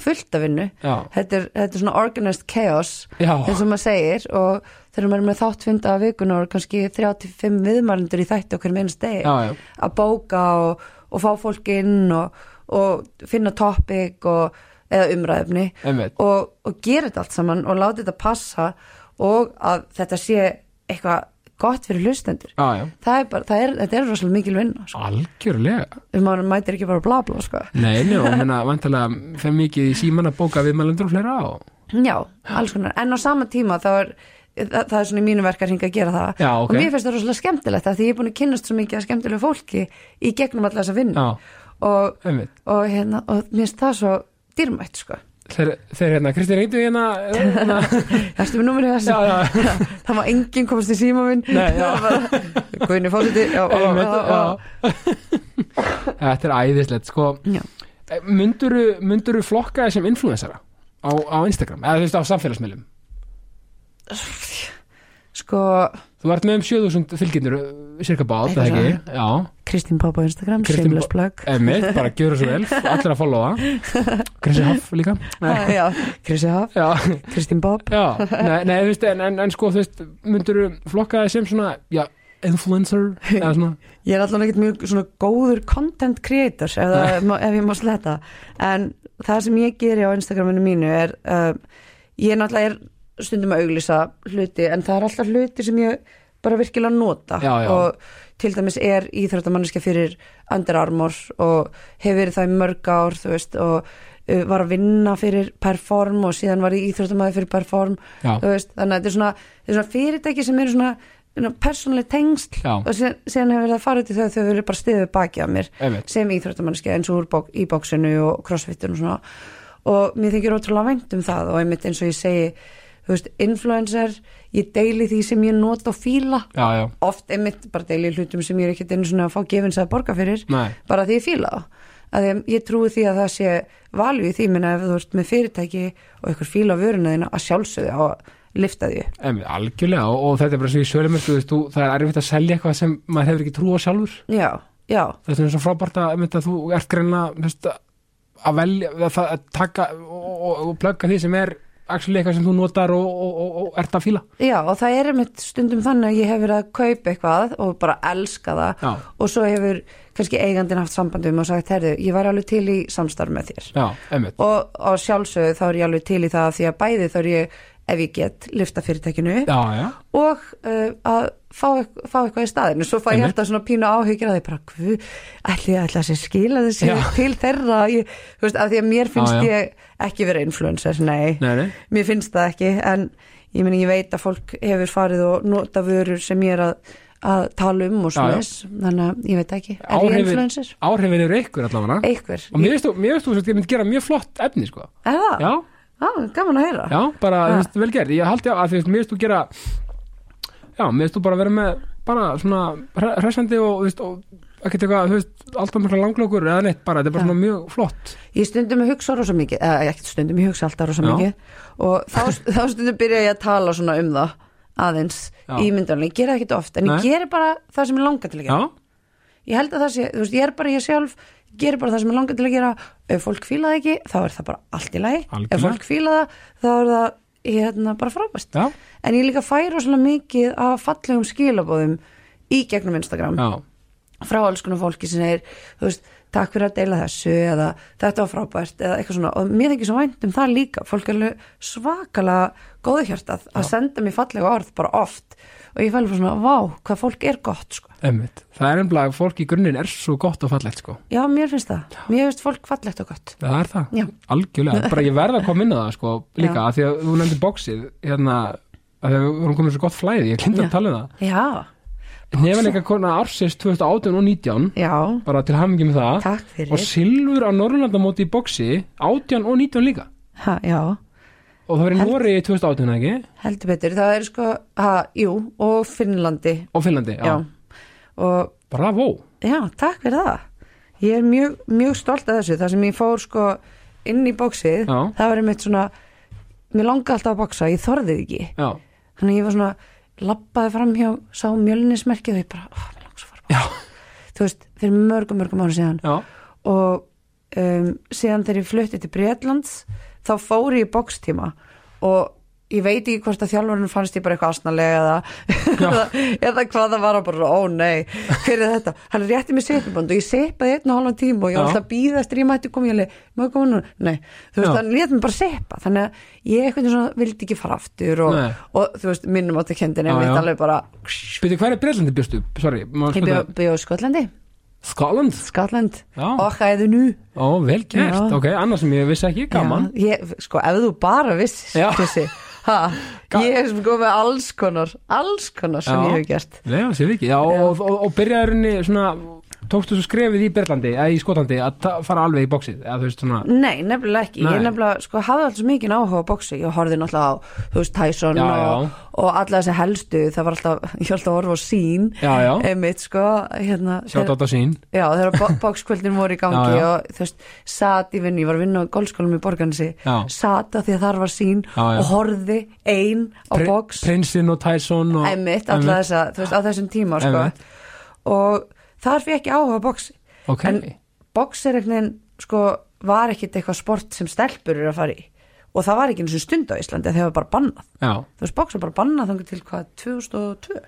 S2: fullt af vinnu
S1: já,
S2: þetta er, þetta er svona organized chaos
S1: já,
S2: eins og maður segir og þegar maður er með þáttfunda að vikuna og kannski 35 viðmælendur í þætti okkur með einast degi
S1: já, já,
S2: að bóka og, og fá fólk inn og, og finna topic og, eða umræðumni
S1: einmitt
S2: og, og gera þetta allt saman og láta þetta passa og að þetta sé eitthvað gott fyrir hlustendur
S1: já, já,
S2: það er bara, það er, þetta er rosalega mikil vinna sko.
S1: algjörlega
S2: um maður mætir ekki bara bla bla sko.
S1: nei, nei, og menna, vantarlega fyrir mikið í símanna bóka við mælendur og fleira á
S2: já, alls konar, en á sama tíma þá er það, það er svona í mínu verkar hing að gera það
S1: Já,
S2: og
S1: ok.
S2: mér finnst það rosalega skemmtilegt af því ég er búin að kynnast svo mikið að skemmtilegu fólki í gegnum alla þessa vinnu
S1: já,
S2: og,
S1: einmitt
S2: og, hérna, og mér finnst það svo dýrmætt sko.
S1: þeir, þeir hérna, Kristi reyndu hérna hérna,
S2: Ertu með númurinn þessu?
S1: já, já,
S2: það var enginn komast í síma minn
S1: Nei, já.
S2: Guðinu fórseti já, já,
S1: einmitt
S2: já, já.
S1: já. þetta er æðislegt sko,
S2: Já.
S1: myndur þú flokka þér sem influensara á, á Instagram, eða þú veist á samfélagsmiðlum
S2: Sko,
S1: þú ert með um 7000 fylgjendur cirka bát,
S2: Eitthvað
S1: það ekki,
S2: svona.
S1: já
S2: Kristín Pápa á Instagram,
S1: Kristín
S2: shameless plug
S1: einmitt, bara gjöra svo vel, allir að followa Kristi Hoff líka
S2: Ah, já, Kristi Haf,
S1: já,
S2: Kristín Bob
S1: já, nei, nei þú veist en, en, en sko, þú veist, myndur þú flokka þér sem svona, já, influencer eða svona,
S2: Ég er allan ekkert mjög svona góður content creators ef, það, má- ef ég má sletta en það sem ég geri á Instagraminu mínu er uh, ég náttúrulega er stundum að auglýsa hluti en það er alltaf hluti sem ég bara virkilega nota
S1: Já, já.
S2: og til dæmis er íþróttamanniska fyrir Under Armour og hefur verið það í mörg ár þú veist og uh, var að vinna fyrir Perform og síðan var ég íþróttamæði fyrir Perform
S1: Já.
S2: þú veist, þannig að þetta er svona, þetta er svona fyrirtæki sem eru svona, svona persónlega tengsl
S1: Já.
S2: og síðan, síðan hefur það farið til þau að þau vilja bara stiðu baki að mér
S1: einmitt
S2: sem íþróttamannski eins og úr bók, í bóksinu og crossfitun og svona og mér þykir ótrúlega vænt um það og einmitt eins og ég segi þú veist, influencer, ég deili því sem ég nota og fíla
S1: já, já,
S2: oft einmitt bara deili hlutum sem ég er ekkert einu svona að fá gefins að borga fyrir
S1: nei,
S2: bara því ég fíla það að ég, ég trúi því að það sé valju í því minna ef þú ert með fyrirtæki og ykkur fíla vöruna þína að sjálfsögðu á að lifta því upp.
S1: Emi, algjörlega og, og þetta er bara svo í sölumestu veist, þú, það er erfitt að selja eitthvað sem maður hefur ekki trú á sjálfur
S2: já, já,
S1: þetta er svo frábært að, einmitt, að þú ert greinlega veist, að velja að, það- að taka og, og, og plugga því sem er actually eitthvað sem þú notar og, og, og, og ert að fíla
S2: já og það er einmitt stundum þannig að ég hef verið að kaupa eitthvað og bara elska það
S1: já,
S2: og svo hefur kannski eigandinn haft sambandum og sagt, herðu, ég var alveg til í samstarf með þér
S1: já, einmitt
S2: og, og sjálfsögðu þá er ég alveg til í það því að bæði þá er ég, ef ég get, lifta fyrirtækinu upp
S1: já, já,
S2: og uh, að fá, eitth- fá eitthvað í staðinu svo fá ég
S1: Einmitt.
S2: alltaf svona pínu áhyggjur að ég bara hvu, ætli ég ætla að sér skila þessi
S1: Já.
S2: til þeirra ég, þú veist, af því að mér finnst
S1: Já, já.
S2: ég ekki vera influencer, nei,
S1: nei, nei
S2: mér finnst það ekki en ég meni ég veit að fólk hefur farið og nota vörur sem ég er að, að tala um og
S1: Já, já.
S2: svona þannig að ég veit það ekki, er ég
S1: Áhrifin-
S2: influencer?
S1: áhrifin eru ykkur allavega
S2: Einhver,
S1: og mér veist þú, mér veist þú, þú myndi gera mjög flott efni sko.
S2: er það?
S1: já,
S2: Á, gaman að heyra
S1: já, bara
S2: Já.
S1: þú veist, vel gerð, ég haldi að þú veist, mér veist þú gera já, mér veist þú bara vera með bara svona hre- hressandi og, þú veist, og ekkert eitthvað, þú veist, alltaf mjög langlökur eða neitt bara, þetta er bara
S2: Já.
S1: svona mjög flott
S2: Ég stundum að hugsa rosa mikið, eða ekkert stundum, ég hugsa alltaf rosa
S1: Já.
S2: mikið og þá, þá stundum byrja ég að tala svona um það aðeins
S1: Já.
S2: í myndunum, ég gera það ekkert oft en
S1: Nei.
S2: ég geri bara það sem ég langar til að
S1: já,
S2: gera Ég held að það sé, þú veist, ég er bara ég sjálf geri bara það sem ég langar til að gera ef fólk fíla það ekki, þá er það bara allt í lagi
S1: Algjörlega.
S2: ef fólk fíla það, þá er það hérna, bara frábæst
S1: já,
S2: en ég líka fæ rosalega mikið af fallegum skilabóðum í gegnum Instagram
S1: já,
S2: frá alls konar fólki sem er þú veist, takk fyrir að deila þessu eða þetta var frábært eða eitthvað svona og mér þykir svo vænt um það líka fólk er alveg svakalega góðuhjartað að senda mér fallega orð bara oft og ég fæli bara svona, vá, hvað fólk er gott sko.
S1: emmitt það er ennblag, fólk í grunninn er svo gott og fallegt sko,
S2: já, mér finnst það, mér finnst fólk fallegt og gott
S1: það er það
S2: Já.
S1: algjörlega, bara ég verð að koma inn að það sko líka,
S2: Já.
S1: af því að þú nefndi bóksið hérna, af því að við vorum komin í svo gott flæði ég klindi
S2: Já.
S1: að tala um það,
S2: já,
S1: nefnilega kona ársins 2018 og 19
S2: já,
S1: bara til hamingi með það
S2: takk
S1: og
S2: fyrir
S1: silfur á Norrlandamóti í boksi 18 og 19 líka
S2: ha, já,
S1: og það var í
S2: Held-
S1: Nóri í 2018 ekki
S2: heldur betur það er sko, ha, jú, og Finnlandi
S1: og Finnlandi, já,
S2: já, og
S1: bravo
S2: Já, takk fyrir það. Ég er mjög, mjög stolt af þessu, þar sem ég fór sko inn í bóksið
S1: Já.
S2: það var einmitt svona mér langaði alltaf að bóksa, ég þorðið ekki
S1: já,
S2: þannig að ég var svona labbaði fram hjá, sá mjölnismerkið og ég bara, oh, mér langs að fara að
S1: já,
S2: boxa." þú veist, fyrir mörgum, mörgum ára síðan
S1: já,
S2: og um, síðan þegar ég flutti til Breitlands þá fór ég í bokstíma og ég veit ekki hvort að þjálfurinn fannst ég bara eitthvað asnalega eða, eða, eða hvað það var og bara, ó nei, hver er þetta hann rétti mér sippiband og ég sippaði einn og halvan tíma og ég var
S1: Já.
S2: alltaf að býða eftir að ég mætti koma ég leið, má ég koma núna, nei þú veist,
S1: Já.
S2: hann rétti mér bara sippa þannig að ég eitthvað svona vildi ekki fara aftur og,
S1: Nei.
S2: og, þú veist, minnum átti kendin
S1: Já,
S2: en við
S1: já.
S2: alveg bara,
S1: byrju, hvað er Breitlandi byrstu? Sorry, maður
S2: ég
S1: spyrja
S2: bjó- bjó í Skotlandi
S1: Skotland?
S2: Skotland,
S1: Já.
S2: okkaði nú
S1: Ó, vel gert,
S2: Já.
S1: ok, annars sem ég vissi ekki, gaman
S2: Já, ég, sko, ef þú bara vissir
S1: Já.
S2: Krissi, ha,
S1: Ga-
S2: ég er sko með alls konar, alls konar sem
S1: Já.
S2: ég hef gert.
S1: Nei, það sé við ekki, já, og, og, og byrjaðurinni svona, tókstu svo skrefið í Breitlandi eða í Skotlandi að ta- fara alveg í bóksið eða þú veist svona,
S2: Nei, nefnilega ekki, ég
S1: Nei.
S2: nefnilega, sko, hafði alltaf mikið áhuga á boxi, ég horfði náttúrulega á, þú veist, Tyson
S1: Já,
S2: og,
S1: já.
S2: og alla þessi helstu, það var alltaf, ég var alltaf að horfa á sín,
S1: já, já,
S2: einmitt, sko, hérna,
S1: sjátt átt á sín
S2: já, þegar boxkvöldin voru í gangi
S1: Já, já.
S2: og, þú veist, sat í vinnu, ég var að vinna á golfskólum í Borgansi,
S1: Já.
S2: sat að því að þar var sín
S1: Já, já.
S2: og horfði ein á
S1: Pri-
S2: box.
S1: Prinsinn og Tyson og
S2: einmitt, alla
S1: Einmitt,
S2: þessa, þú veist, á þessum tíma sko.
S1: Einmitt.
S2: og þar fyrir ekki áhuga á boxi
S1: ok,
S2: en boxi er einhvern veginn sko, var ekkit eitthvað sport sem stelpur eru að fara í og það var ekki eins og stund á Íslandi þegar það var bara bannað
S1: já,
S2: þú veist, boxi var bara bannað þangar til hvað 2002,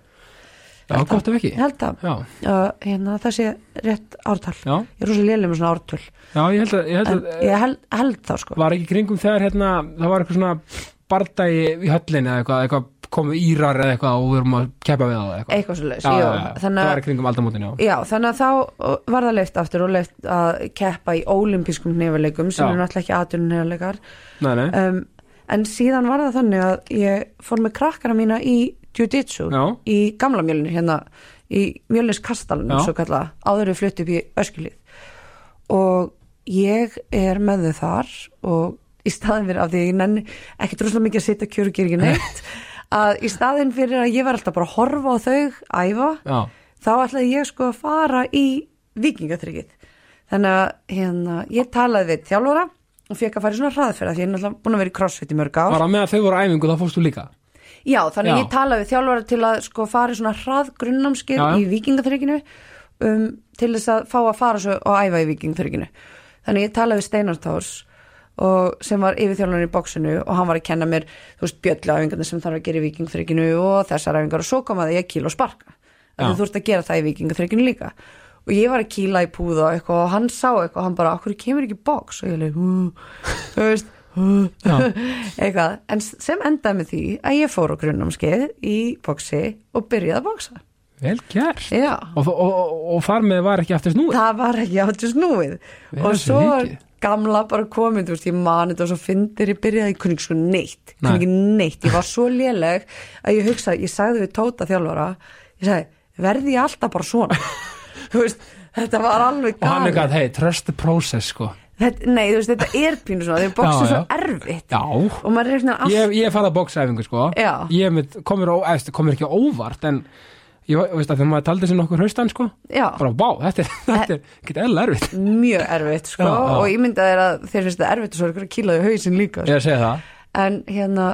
S1: já, gott ef ekki
S2: ég held að
S1: já,
S2: uh, hérna, það sé rétt ártal
S1: já,
S2: ég er rosa lélega með svona ártöl
S1: já, ég held að, ég held
S2: en
S1: að eh,
S2: ég held, held þá sko
S1: var ekki í kringum þegar hérna, það var eitthvað svona bardagi í höllin eða eitthvað, eitthvað komu írar eða eitthvað og við vorum að keppa við það eða eitthvað
S2: eitthvað svo leys,
S1: já, já, já, það
S2: þannig
S1: var í kringum aldamótin, já,
S2: Já, þannig að þá var það leift aftur og leift að keppa í ólimpískum nefnileikum sem
S1: Já.
S2: eru náttúrulega ekki aðtunum nefnileikar
S1: nei, nei,
S2: um, en síðan var það þannig að ég fór með krakkana mína í jiu-jitsu
S1: já,
S2: í gamla mjölinu hérna í mjölinskastalunum
S1: Já.
S2: svo kalla áður við flutt upp í öskilið og ég er með þau þar og í staðin fyrir af því að ég nenni ekki droslega mikið að sitja kjör og gera ekki neitt að í staðin fyrir að ég var alltaf bara að horfa á þau, æfa
S1: já,
S2: þá ætlaði ég sko að fara í vikingatryggið þannig að hérna, ég talaði við þjálfara og fekk að fara í svona hraðferða því ég er náttúrulega búin að vera í crossfit í mörg ár
S1: bara með að þau voru á æfingu þá fórst þú líka,
S2: já, þannig
S1: Já.
S2: að ég talaði við þjálfara til að sko fara í svona hraðgrunnámskeið
S1: Já, já.
S2: í vikingatrygginu um, til þess að fá að fara svo og æfa í vikingatrygginu þannig að ég talaði við Steinar Társ og sem var yfirþjálfarinn í bóksinu og hann var að kenna mér, þú veist, bjölluæfingarnir sem þarf að gera í vikingþrykinu og þessar æfingar og svo kom að ég að kýla og sparka
S1: Já.
S2: að þú þurft að gera það í vikingþrykinu líka og ég var að kýla í púða og eitthvað og hann sá eitthvað og hann bara, okkur kemur ekki bóks og ég leik, hú, þú veist hú, eitthvað, en sem endaði með því að ég fór á grunnumskeið í bóksi og byrjaði að bóksa
S1: vel gert
S2: já,
S1: og, og, og, og þar með var ekki aftur snúið
S2: það var ekki áttu snúið
S1: Vel
S2: og
S1: þessi
S2: svo var
S1: mikið.
S2: gamla bara komin, þú veist, ég mani þetta og svo fyndir ég byrjaði, ég kunni ekki svo
S1: Nei.
S2: neitt kunni ekki neitt, ég var svo léleg að ég hugsaði, ég sagði við Tóta þjálfara ég sagði, verði ég alltaf bara svona þú veist, þetta var alveg
S1: og hann er
S2: galið.
S1: gæt, hei, trust the process sko,
S2: þetta, nei, þú veist, þetta er pínu svona þeir bóksa
S1: Já,
S2: svo
S1: já.
S2: erfitt
S1: já
S2: og maður er einhvern veginn
S1: ég, ég farið að bóksæfingu sko
S2: Já.
S1: ég mitt, komur, ó, eðst, komur ekki á óvart en ég var- veist að þegar maður taldi sér nokkur haustan sko
S2: all,
S1: bara bá, þetta er, þetta er ekki eðla erfitt
S2: já, mjög erfitt sko,
S1: Já, já.
S2: og ég myndi að þeir að þeir finnst þetta erfitt og svo er ykkur að kýlaði hausin líka
S1: ég er að segja það
S2: en hérna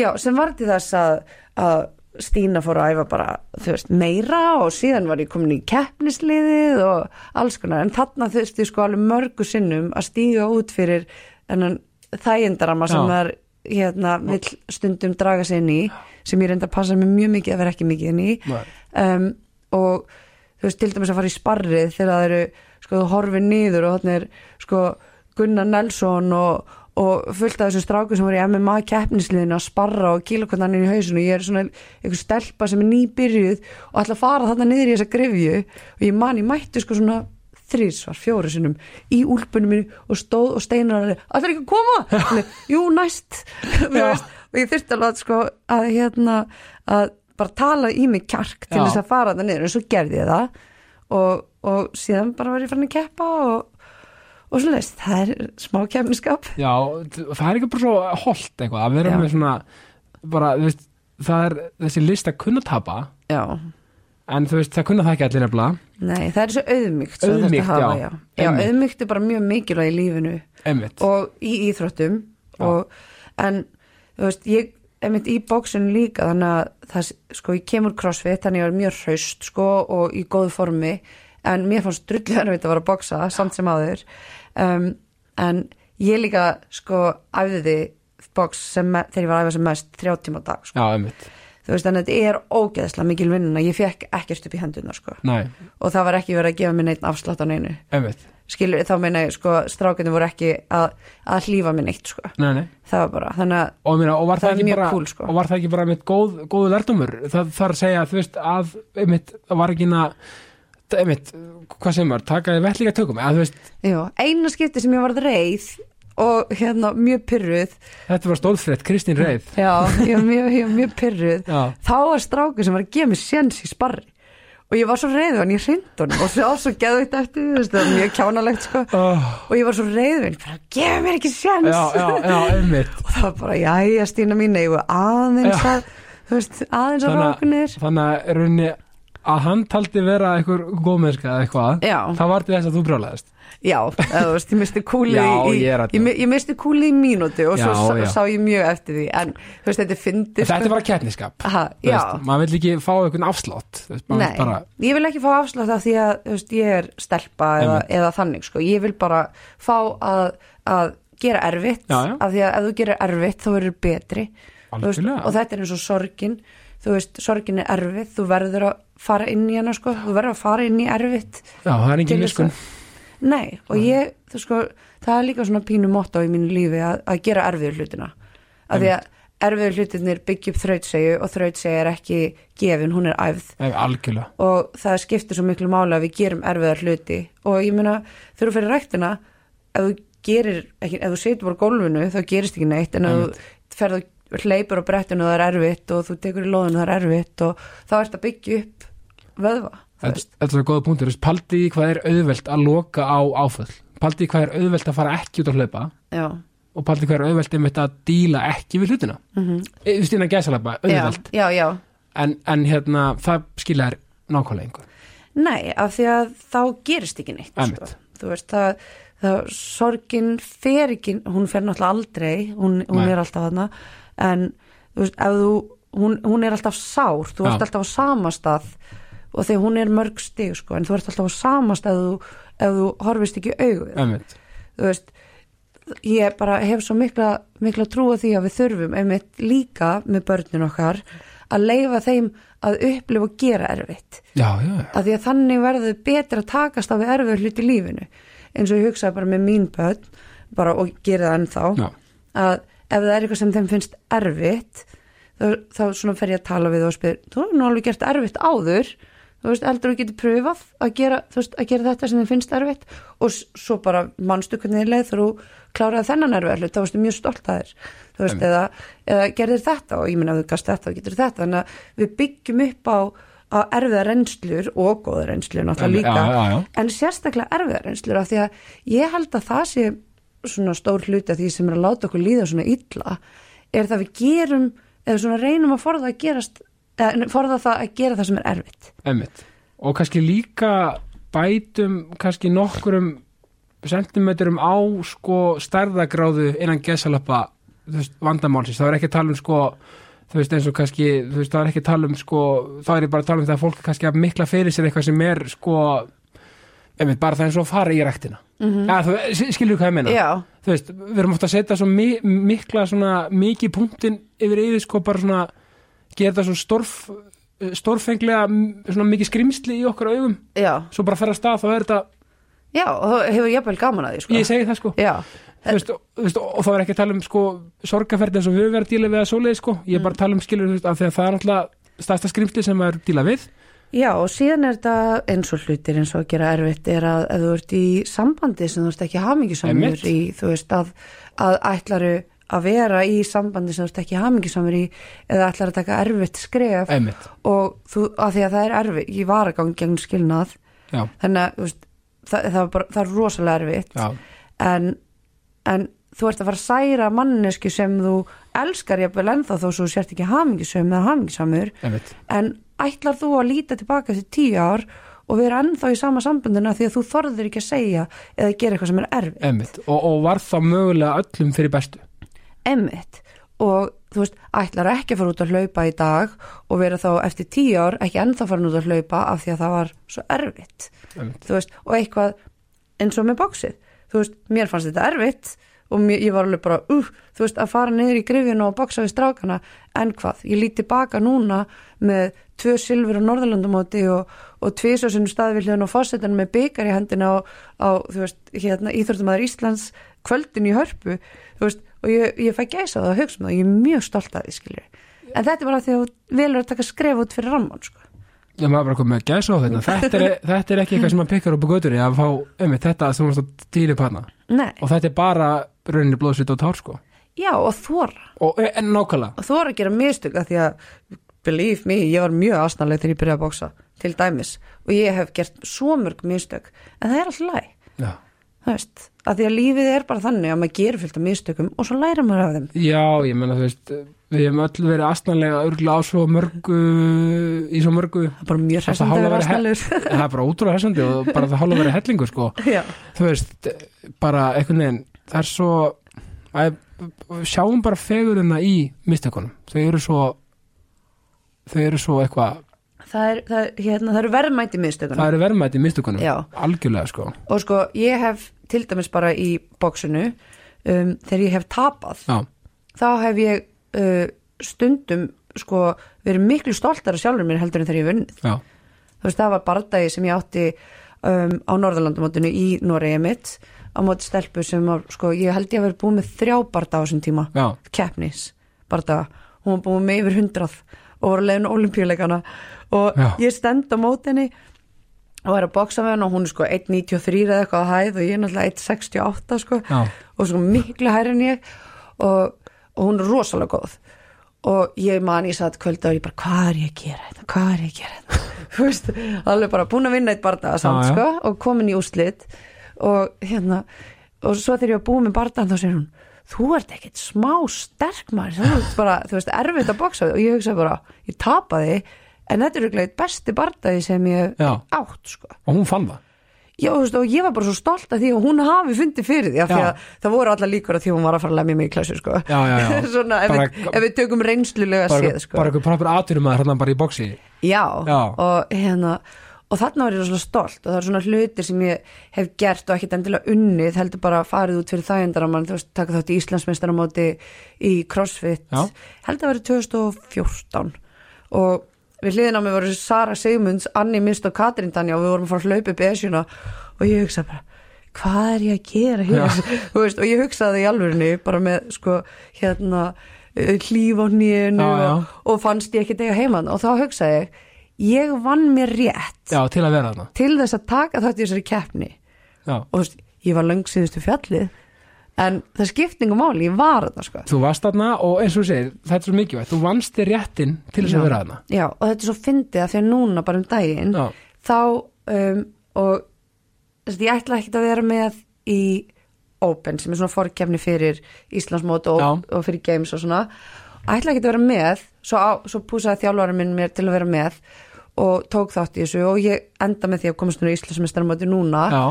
S2: já, sem var til þess að, að Stína fór að æfa bara þú veist, meira og síðan var ég komin í keppnisliðið og alls konar en þarna þurfti sko alveg mörgu sinnum að stíga út fyrir þennan þægindarama sem
S1: Já.
S2: var hérna, vill stundum draga sig inn í sem ég reynda að passa mig mjög mikið að vera ekki mikið inn í
S1: Nei.
S2: um, og þú veist, til dæmis að fara í sparrið þegar það eru, sko, þú horfir niður og þannig er, sko, Gunnar Nelson og, og fullt af þessum stráku sem voru í MMA keppnisliðinu að sparra og kýla hvernig hann er í hausinu, ég er svona einhver stelpa sem er nýbyrjuð og ætla að fara þarna niður í þessa grefju og ég man, ég mætti sko svona þrísvar, fjóru sinnum í úlpunum minni og stóð og steinar hann allir ekki að koma, Nei, jú næst Þú veist, og ég þurfti alveg að sko að hérna að bara tala í mig kjark til
S1: Já.
S2: þess að fara það niður en svo gerði ég það og, og síðan bara var ég farin að keppa og, og svo leist, það er smá keppniskap
S1: Já, það er ekki bara svo holdt eitthvað að vera
S2: Já.
S1: með svona bara, þú veist, það er þessi list að kunna tapa
S2: já,
S1: en þú veist, það kunna það ekki allir nefnilega
S2: nei, það er svo auðmygt
S1: Auðmýkt,
S2: hafa,
S1: já.
S2: já. já
S1: Einmitt.
S2: auðmygt er bara mjög mikilvæg í lífinu
S1: einmitt,
S2: og í íþróttum og, en þú veist, ég einmitt í bóksun líka þannig að það, sko, ég kemur crossfit þannig að ég var mjög hraust sko og í góðu formi en mér fannst drullið erfitt að vera að bóksa samt sem áður um, en ég líka sko æfði bóks sem me- þegar ég var að æfa sem mest þrjá tíma á dag sko.
S1: já, einmitt
S2: þú veist, en þetta er ógeðslega mikil vinnuna ég fekk ekkert upp í hendunar sko
S1: næ,
S2: og það var ekki verið að gefa mér neitt afslátt á neinu
S1: einmitt,
S2: skilur, þá meina ég sko strákinu voru ekki að, að hlýfa mér neitt sko
S1: nei, nei
S2: það var bara, þannig að
S1: og, meina, og, var
S2: Það
S1: það
S2: er
S1: ekki
S2: mjög
S1: bara,
S2: cool, sko.
S1: og var það ekki bara einmitt góð, góðu lærdomur það þarf að segja að þú veist að einmitt, það var ekki inn að einmitt, hvað segir maður, taka þið vettlíka tökum að þú veist,
S2: já, eina skipti sem ég varð reið og hérna mjög pyrruð
S1: þetta var stólfrétt, Kristín Reið
S2: já, ég var mjög, ég var mjög pyrruð
S1: já,
S2: þá var strákur sem var að gefa mér séns í sparri og ég var svo reið hann, ég hrind hann og svo á svo geðvægt eftir, því, þú veist, það var mjög kjánalegt sko
S1: oh,
S2: og ég var svo reið hann, bara gefa mér ekki séns
S1: já, já, já, einmitt
S2: og það var bara, jæja Stína mín, eigum við aðeins
S1: Já.
S2: að þú veist, aðeins að rákunir
S1: þannig að runni að hann taldi vera einhver góðmennska eða eitthvað
S2: Já.
S1: það var til þess að þú brjólaðist
S2: Já, eða þú veist, ég misti kúli
S1: Já,
S2: í,
S1: ég er að-
S2: ég, mi- ég misti kúli í mínútu og svo
S1: Já,
S2: sá,
S1: já.
S2: sá ég mjög eftir því en þú veist, þetta er fyndið
S1: þetta er
S2: sko.
S1: bara keppniskap
S2: Aha,
S1: Þú
S2: Já,
S1: veist, maður vill ekki fá einhvern afslátt þú veist, maður
S2: nei,
S1: vill bara,
S2: ég vil ekki fá afslátt af því að þú veist, ég er stelpa eða,
S1: Einmitt.
S2: eða þannig, sko, ég vil bara fá að, að gera erfitt
S1: Já, já.
S2: af því að ef þú gerir erfitt þá verður betri Þú veist,
S1: Algjörlega.
S2: og þetta er eins og sorgin þú veist, sorgin er erfitt, þú verður að fara inn í hana, sko, þú verður að fara inn í erfitt
S1: já, það er
S2: Til
S1: engin
S2: þess
S1: miskun
S2: Nei, og ég, þú sko, það er líka svona pínu motto í mínu lífi að, að gera erfiður hlutina. Af því að erfiður hlutinir byggja upp þrautsegju og þrautsegja er ekki gefin, hún er æfð
S1: Nei, algjörlega,
S2: og það skiptir svo miklu máli að við gerum erfiðar hluti og ég meina þegar þú fyrir ræktina ef þú gerir, ekki, ef þú setur bara á gólfinu þá gerist ekki neitt en ef þú ferð og hleypur á brettinu og það er erfitt og þú tekur í loðinu og það er erfitt og þá ert að byggja upp vöðva þú
S1: þetta þetta er góða punktur þú veist, paldi í hvað er auðvelt að loka á áföll paldi í hvað er auðvelt að fara ekki út að hlaupa
S2: Já,
S1: og paldi í hvað er auðvelt einmitt að díla ekki við hlutina mm -hmm. þú veist, innan gæsalapa,
S2: Mhm. já,
S1: auðvelt
S2: já, já
S1: en, en hérna, það skilja þær nákvæmlega einhver
S2: Nei, af því að þá gerist ekki neitt sko.
S1: Einmitt.
S2: Þú veist, það, það sorgin fer ekki, hún fer náttúrulega aldrei hún, hún
S1: Nei.
S2: er alltaf þarna en þú veist, ef þú hún, hún er alltaf sár, þú
S1: Já.
S2: ert alltaf á sama stað og þegar hún er mörg stig sko, en þú ert alltaf á sama stað ef þú, ef þú horfist ekki í augu við
S1: einmitt,
S2: þú veist ég bara hef svo mikla, mikla trúa því að við þurfum einmitt líka með börnin okkar að leifa þeim að upplifa og gera erfitt
S1: já, já, já
S2: að því að þannig verður betra að takast á við erfiður hlut í lífinu eins og ég hugsaði bara með mín börn bara og gera það ennþá
S1: Já.
S2: að ef það er eitthvað sem þeim finnst erfitt þá, þá svona fer ég að tala við þau og spyr, þú er nú alveg gert erfitt áður þú veist, heldur þú getur pröfað að gera, þú veist, að gera þetta sem þeim finnst erfitt og s- svo bara manstu hvernig þér leið þegar þú kláraði þennan erfið hlut, þá varstu mjög stolt að þér þú veist, eða, eða gerðir þetta og ég minna að þú gast þetta og getur þetta þannig að við byggjum upp á að erfiða reynslur og góða reynslur náttúrulega
S1: Einmitt,
S2: líka
S1: já, já, já.
S2: en sérstaklega erfiða reynslur af því að ég held að það sé svona stór hluti af því sem er að láta okkur líða svona illa er það við gerum eða svona reynum að forða að gerast eða forða það að gera það sem er erfitt
S1: Einmitt. Og kannski líka bætum kannski nokkurum sentimetrum á sko stærðagráðu innan gesalappa vandamálsins. Það er ekki að tala um sko þú veist eins og kannski, þú veist það er ekki að tala um sko, þá er ég bara að tala um það að fólk er kannski að mikla fyrir sér eitthvað sem er sko einmitt bara það er svo að fara í ræktina. Mm -hmm. ja, þú skilur hvað ég meina?
S2: Já,
S1: Þú veist, við erum ofta að setja svo mi mikla svona mikið punktin yfir yfir sko bara svona gera þetta svo stórf, stórfenglega m- svona mikið skrimsli í okkar augum
S2: já,
S1: svo bara fer að stað þá er þetta,
S2: já og þá hefur jafnvel gaman að því sko.
S1: ég segi það sko
S2: Já,
S1: þú veist, og- þú veist, og, og þá er ekki að tala um sko sorgaferð eins og við höfum verið að díla við að svoleiði sko ég er bara að tala um skilur þú veist, af því að það er náttúrulega stærsta skrimsli sem maður díla við
S2: Já, og síðan er þetta eins og hlutir eins og að gera erfitt er að ef þú ert í sambandi sem þú ert ekki hamingisamur
S1: Einmitt.
S2: í, þú veist að, að ætlaru að vera í sambandi sem þú ert ekki hamingisamur í eða ætlar að taka erfitt skref
S1: einmitt,
S2: og þú, að því að það er erfitt, ég var að gangi gegn skilnað
S1: já,
S2: þannig að þú veist, það, það, var bara, það er rosalega erfitt
S1: já,
S2: en, en þú ert að fara að særa mannesku sem þú elskar jafnvel ennþá þó svo þú sért ekki hamingisum eða hamingisamur
S1: einmitt
S2: en ætlar þú að líta tilbaka eftir tíu ár og við erum ennþá í sama sambundinu af því að þú þorður ekki að segja eða gera eitthvað sem er erfið
S1: Einmitt. og, og var það mögulega öllum fyrir bestu
S2: emmitt og þú veist, ætlar ekki að fara út að hlaupa í dag og vera þá eftir tíu ár ekki ennþá farin út að hlaupa af því að það var svo erfitt
S1: Einmitt.
S2: þú veist, og eitthvað eins og með bóksið, þú veist, mér fannst þetta erfitt og mér, ég var alveg bara uh, þú veist, að fara niður í grifjun og bóksa við strákana, en hvað, ég lít tilbaka núna með tvö silfur á Norðurlandumóti og, og tvisasinn staðvillin og fósettin með byggar í hendina á, á þú veist, hérna Íþórtumæður Íslands kvöldin í hörpu þú veist, og ég, ég fæ gæsa það að hugsa um það og ég er mjög stolt að því skilur en þetta er bara af því að þú velur að taka skref út fyrir rammann sko.
S1: Já, maður bara komið með gæsa á þetta þetta er, þetta er ekki eitthvað sem maður pikkar upp á göturi að fá, einmitt, þetta sem varst að dýla upp hana
S2: Nei,
S1: og þetta er bara rauninni blóðsvit og tár sko
S2: já og þóra
S1: og e, en nákvæmlega
S2: og þú voru að gera mistök að því að believe me, ég var mjög aðsnaðleg þegar ég byrjaði að bóksa til dæmis og ég hef gert svo mörg mistök en það er alltaf læg,
S1: já.
S2: það veist að því að lífið er bara þannig að maður gerir fyllt af mistökum og svo læra maður af þeim
S1: já, ég menna þú veist við hefum öll verið astnanlega örgulega á svo mörgu í svo mörgu
S2: það er bara mjög
S1: Það
S2: hressandi að
S1: hálfa
S2: vera
S1: verið
S2: aðsnaðlegur
S1: he- það er bara ótrúlega hessandi og bara það hálfa verið hellingur sko
S2: Já,
S1: þú veist, bara einhvern veginn það er svo að, sjáum bara fegurina í mistökunum, þau eru svo þau eru svo eitthvað
S2: það, er, það, er, hérna, það eru verðmæti mistökunum
S1: það eru verðmætt í mistökunum,
S2: Já.
S1: algjörlega sko
S2: og sko ég hef til dæmis bara í bóksinu um, þegar ég hef tapað
S1: já,
S2: þá hef ég uh, stundum sko verið miklu stoltar af sjálfur mér heldur en þegar ég hef vunnið
S1: já,
S2: þú veist, það var bardagi sem ég átti um, á Norðurlandamótinu í Noregi mitt á móti stelpu sem var, sko, ég held ég að vera búið með þrjá bardaga á þessum tíma
S1: já
S2: keppnis bardaga, hún var búið með yfir hundrað og voru leiðin olimpíuleikana og
S1: Já.
S2: ég stend á mótinni og er að boksa með hann og hún er sko 1.93 eða eitthvað að hæð og ég er náttúrulega 1.68 sko
S1: Já.
S2: og svo miklu hærri en ég og, og hún er rosalega góð og ég man ég satt kvölda og ég bara hvað er ég að gera þetta, hvað er ég að gera þetta þú veist, alveg bara búin að vinna eitt bardaga samt
S1: Já, já.
S2: sko og komin í úslit og hérna og svo þegar ég var búin með bardagan þá segir hún þú ert ekkert smá sterk maður þú ert bara, þú veist, erfitt að boksa við." og ég hugsa bara, ég tapaði en þetta er örugglega eitt besti bardagi sem ég hef
S1: Já.
S2: átt sko
S1: og hún fann það
S2: Já, þú veist, og ég var bara svo stolt af því að hún hafi fundið fyrir því, af því
S1: Já.
S2: að það voru allar líkur af því að hún var að fara að lemja mig í klassu, sko.
S1: Já, já, já.
S2: Svona, ef, við,
S1: Bara-
S2: ef við tökum reynslulega
S1: bara,
S2: séð,
S1: eitthvað-
S2: sko.
S1: bara eitthvað proper aðturum að hérna bara í boxi
S2: já,
S1: Já.
S2: og hérna, og þarna var ég rosalega stolt og það er svona hlutir sem ég hef gert og ekkit endilega unnið, heldur bara farið út fyrir þægendaramann, þú veist, taka þátt í Íslandsmeistaramóti í CrossFit,
S1: Já.
S2: held að vera 2014 og við hliðin á mig voru Sara Sigmunds, Anni Mist og Katrín Danja og við vorum að fara að hlaupa upp esjuna og ég hugsa bara, hvað er ég að gera hér, þú veist, og ég hugsaði í alvörinni bara með, sko, hérna eh, hlíf á nýjunu
S1: Já, já.
S2: og, og fannst ég ekki dega heimann og þá hugsaði ég, ég vann mér rétt
S1: já, til að vera þarna
S2: til þess að taka þátt í þessari keppni
S1: já.
S2: og þú veist, ég var löng síðustu fjallið en það skiptingum máli, ég var þetta, sko
S1: þú varst þarna og eins og þú segir, þetta er svo mikilvægt þú vannst þér réttin til þess að vera þarna
S2: Já, og þetta er svo fyndið að því að núna bara um daginn
S1: Já.
S2: þá um, og þess að ég ætla ekkit að vera með í Open sem er svona forkefni fyrir Íslandsmót og,
S1: Já.
S2: og fyrir Games og svona ætla ekkit að vera með svo, á, svo púsaði þjálfari minn mér til að vera með og tók þátt í þessu og ég enda með því að komast nú í Íslandsmeistaramóti núna
S1: já,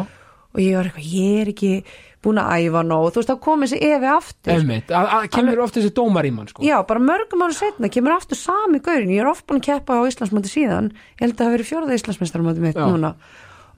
S2: og ég var eitthvað, ég er ekki búin að æfa nóg, þú veist þá komið sér efi aftur
S1: einmitt, að, að kemur ofta þessi dómar í mann sko.
S2: Já, bara mörgum ára setna kemur aftur sami gaurin, ég er oft búin að keppa á Íslandsmóti síðan, ég held að það hafi verið fjóraða Íslandsmeistaramóti mitt
S1: Já.
S2: núna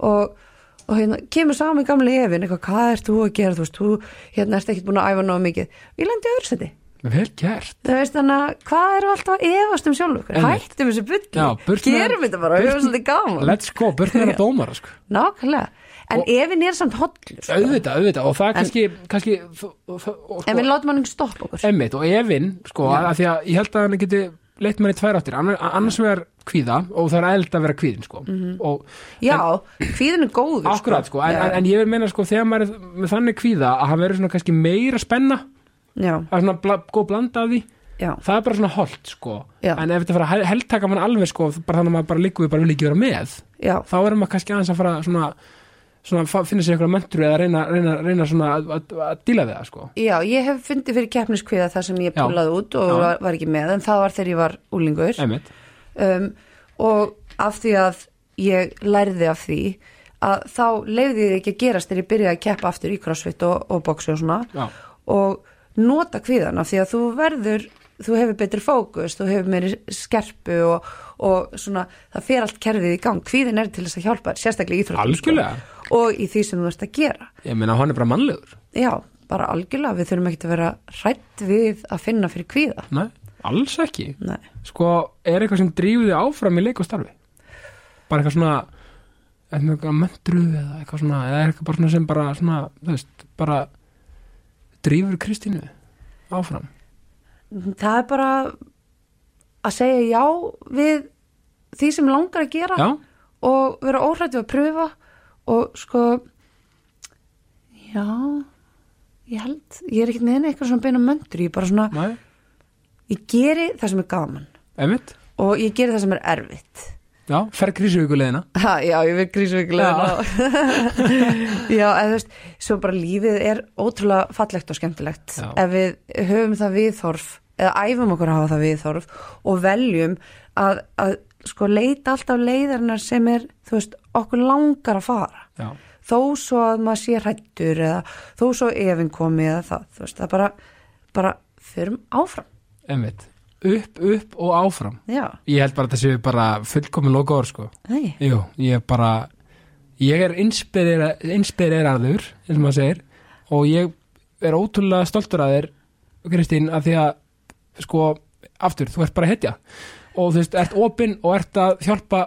S2: og, og hérna, kemur sami gamli efin, eitthvað, hvað ert þú að gera, þú veist þú, hérna, ert ekki búin að æfa náðu mikið ég lendi öðru seti,
S1: vel gert
S2: þú veist þannig að hvað eru alltaf að efast um sjálf okkur,
S1: Einmitt.
S2: hættum þessu
S1: Já, burt
S2: byrki
S1: með-
S2: gerum þetta bara, við erum svolítið gaman
S1: let's go, burt með að dómara sko.
S2: nákvæmlega, en efin er samt hollur, sko.
S1: auðvitað, auðvitað og það er kannski, kannski f- f- og,
S2: en
S1: sko,
S2: við látum hann ekki stoppa okkur
S1: einmitt og evin sko, að því að ég held að hann geti leitt manni tvær áttir, annar- annars vegar kvíða og það er eld að vera kvíðin sko. og
S2: já, hvíðin er góður Mhm. sko.
S1: akkurat, sko, en,
S2: Já.
S1: en, en ég vil meina sko, þegar maður er með þannig kvíða að hann verður svona kannski meira spenna
S2: já,
S1: það er svona bla, góð blanda af því
S2: já,
S1: það er bara svona holdt sko
S2: Já.
S1: en ef þetta fara að hel- heldtaka mann alveg sko bara þannig að maður bara liggur við bara vil ekki vera með
S2: já
S1: þá erum maður kannski aðeins að fara svona, svona fa- finna sér einhverja möntru eða reyna, reyna, reyna svona að, að, að díla við það sko
S2: Já, ég hef fundið fyrir keppniskviða þar sem ég
S1: Já.
S2: búlaði út og
S1: Já.
S2: var, var ekki með en það var þegar ég var úlingur
S1: einmitt,
S2: um, og af því að ég lærði af því að þá leiði ég ekki að gerast þegar ég byrjaði að keppa aftur í crossfit og, og boxi og svona
S1: Já.
S2: og nota kvíðan af því að þú verður þú hefur betri fókus, þú hefur meiri skerpu og, og svona það fer allt kerfið í gang, kvíðin er til þess að hjálpa þér, sérstaklega í íþróttum sko.
S1: Algjörlega.
S2: og í því sem þú ert að gera
S1: Ég meina, hann er bara mannlegur.
S2: já, bara algjörlega, við þurfum ekkert að vera hrætt við að finna fyrir kvíða
S1: Nei, alls ekki.
S2: Nei.
S1: Sko, er eitthvað sem drífur þig áfram í leik og starfi? Bara eitthvað svona, eitthvað möndru eða eitthvað svona, eða er eitthvað bara svona sem bara, svona, þú veist, bara drífur Kristínu áfram?
S2: það er bara að segja já við því sem langar að gera
S1: Já,
S2: og vera óhrætt við að pröfa og sko já ég held, ég er ekkert með neina eitthvað svona beina möndur, ég bara svona
S1: næ,
S2: ég geri það sem er gaman
S1: emitt,
S2: og ég geri það sem er erfitt
S1: já, fer Krísuvíkuleðina.
S2: ha, já, ég verð grísveikulega já, eða þú veist svo bara lífið er ótrúlega fallegt og skemmtilegt
S1: Já.
S2: ef við höfum það viðhorf eða æfum okkur að hafa það viðhorf og veljum að, að sko leita alltaf leiðarinnar sem er þú veist, okkur langar að fara
S1: Já,
S2: þó svo að maður sé hrættur eða þó svo efinn komi eða það, þú veist, það bara, bara förum áfram,
S1: emitt, upp, upp og áfram.
S2: já,
S1: Ég held bara að þetta séu bara fullkomin lokaður, sko.
S2: nei,
S1: Jú, ég bara ég er inspirera- inspireraður eins og maður segir og ég er ótrúlega stoltur að þér Kristín, af því að sko, aftur, þú ert bara hetja og þú veist, ert opinn og ert að hjálpa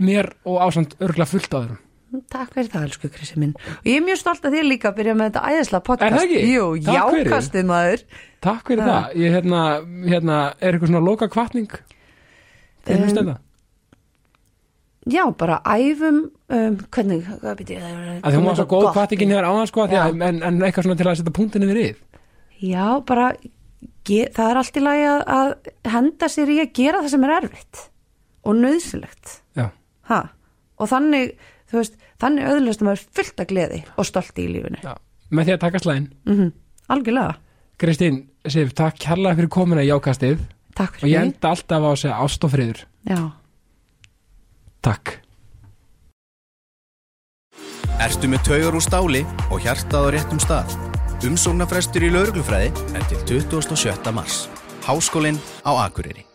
S1: mér og ásamt örgla fullt á þeirum
S2: takk fyrir það, elsku Krissi minn og ég er mjög stolt að þér líka að byrja með þetta æðislega podcast,
S1: Er það ekki?
S2: jú,
S1: Takk fyrir.
S2: jákastið maður
S1: Takk fyrir
S2: Já.
S1: það, ég hérna, hérna er eitthvað svona loka kvartning til
S2: Um,
S1: hlustenda
S2: já, bara æfum um, hvernig, hvað byrja það
S1: að því hún var svo góð kvartningin hér áðan sko, af því
S2: Já.
S1: að, en, en eitthvað svona til að setja punktinni við rið
S2: já, bara ge, það er allt í lagi að, að henda sér í að gera það sem er erfitt og nöðsilegt
S1: Já,
S2: ha. og þannig, þú veist þannig öðlust maður fullt af gleði og stolti í lífinu
S1: já, með því að taka slæðin
S2: mm algjörlega,
S1: Kristín, Sif, takk kærlega fyrir komuna í jákastið
S2: takk
S1: og ég
S2: fyrir
S1: enda alltaf á að segja ást og friður.
S2: já.
S1: Takk.
S3: Ertu með taugar úr stáli og hjartað á réttum stað? Umsóknarfrestur í lauruglufræði er til 27. mars. Háskólinn á Akureyri.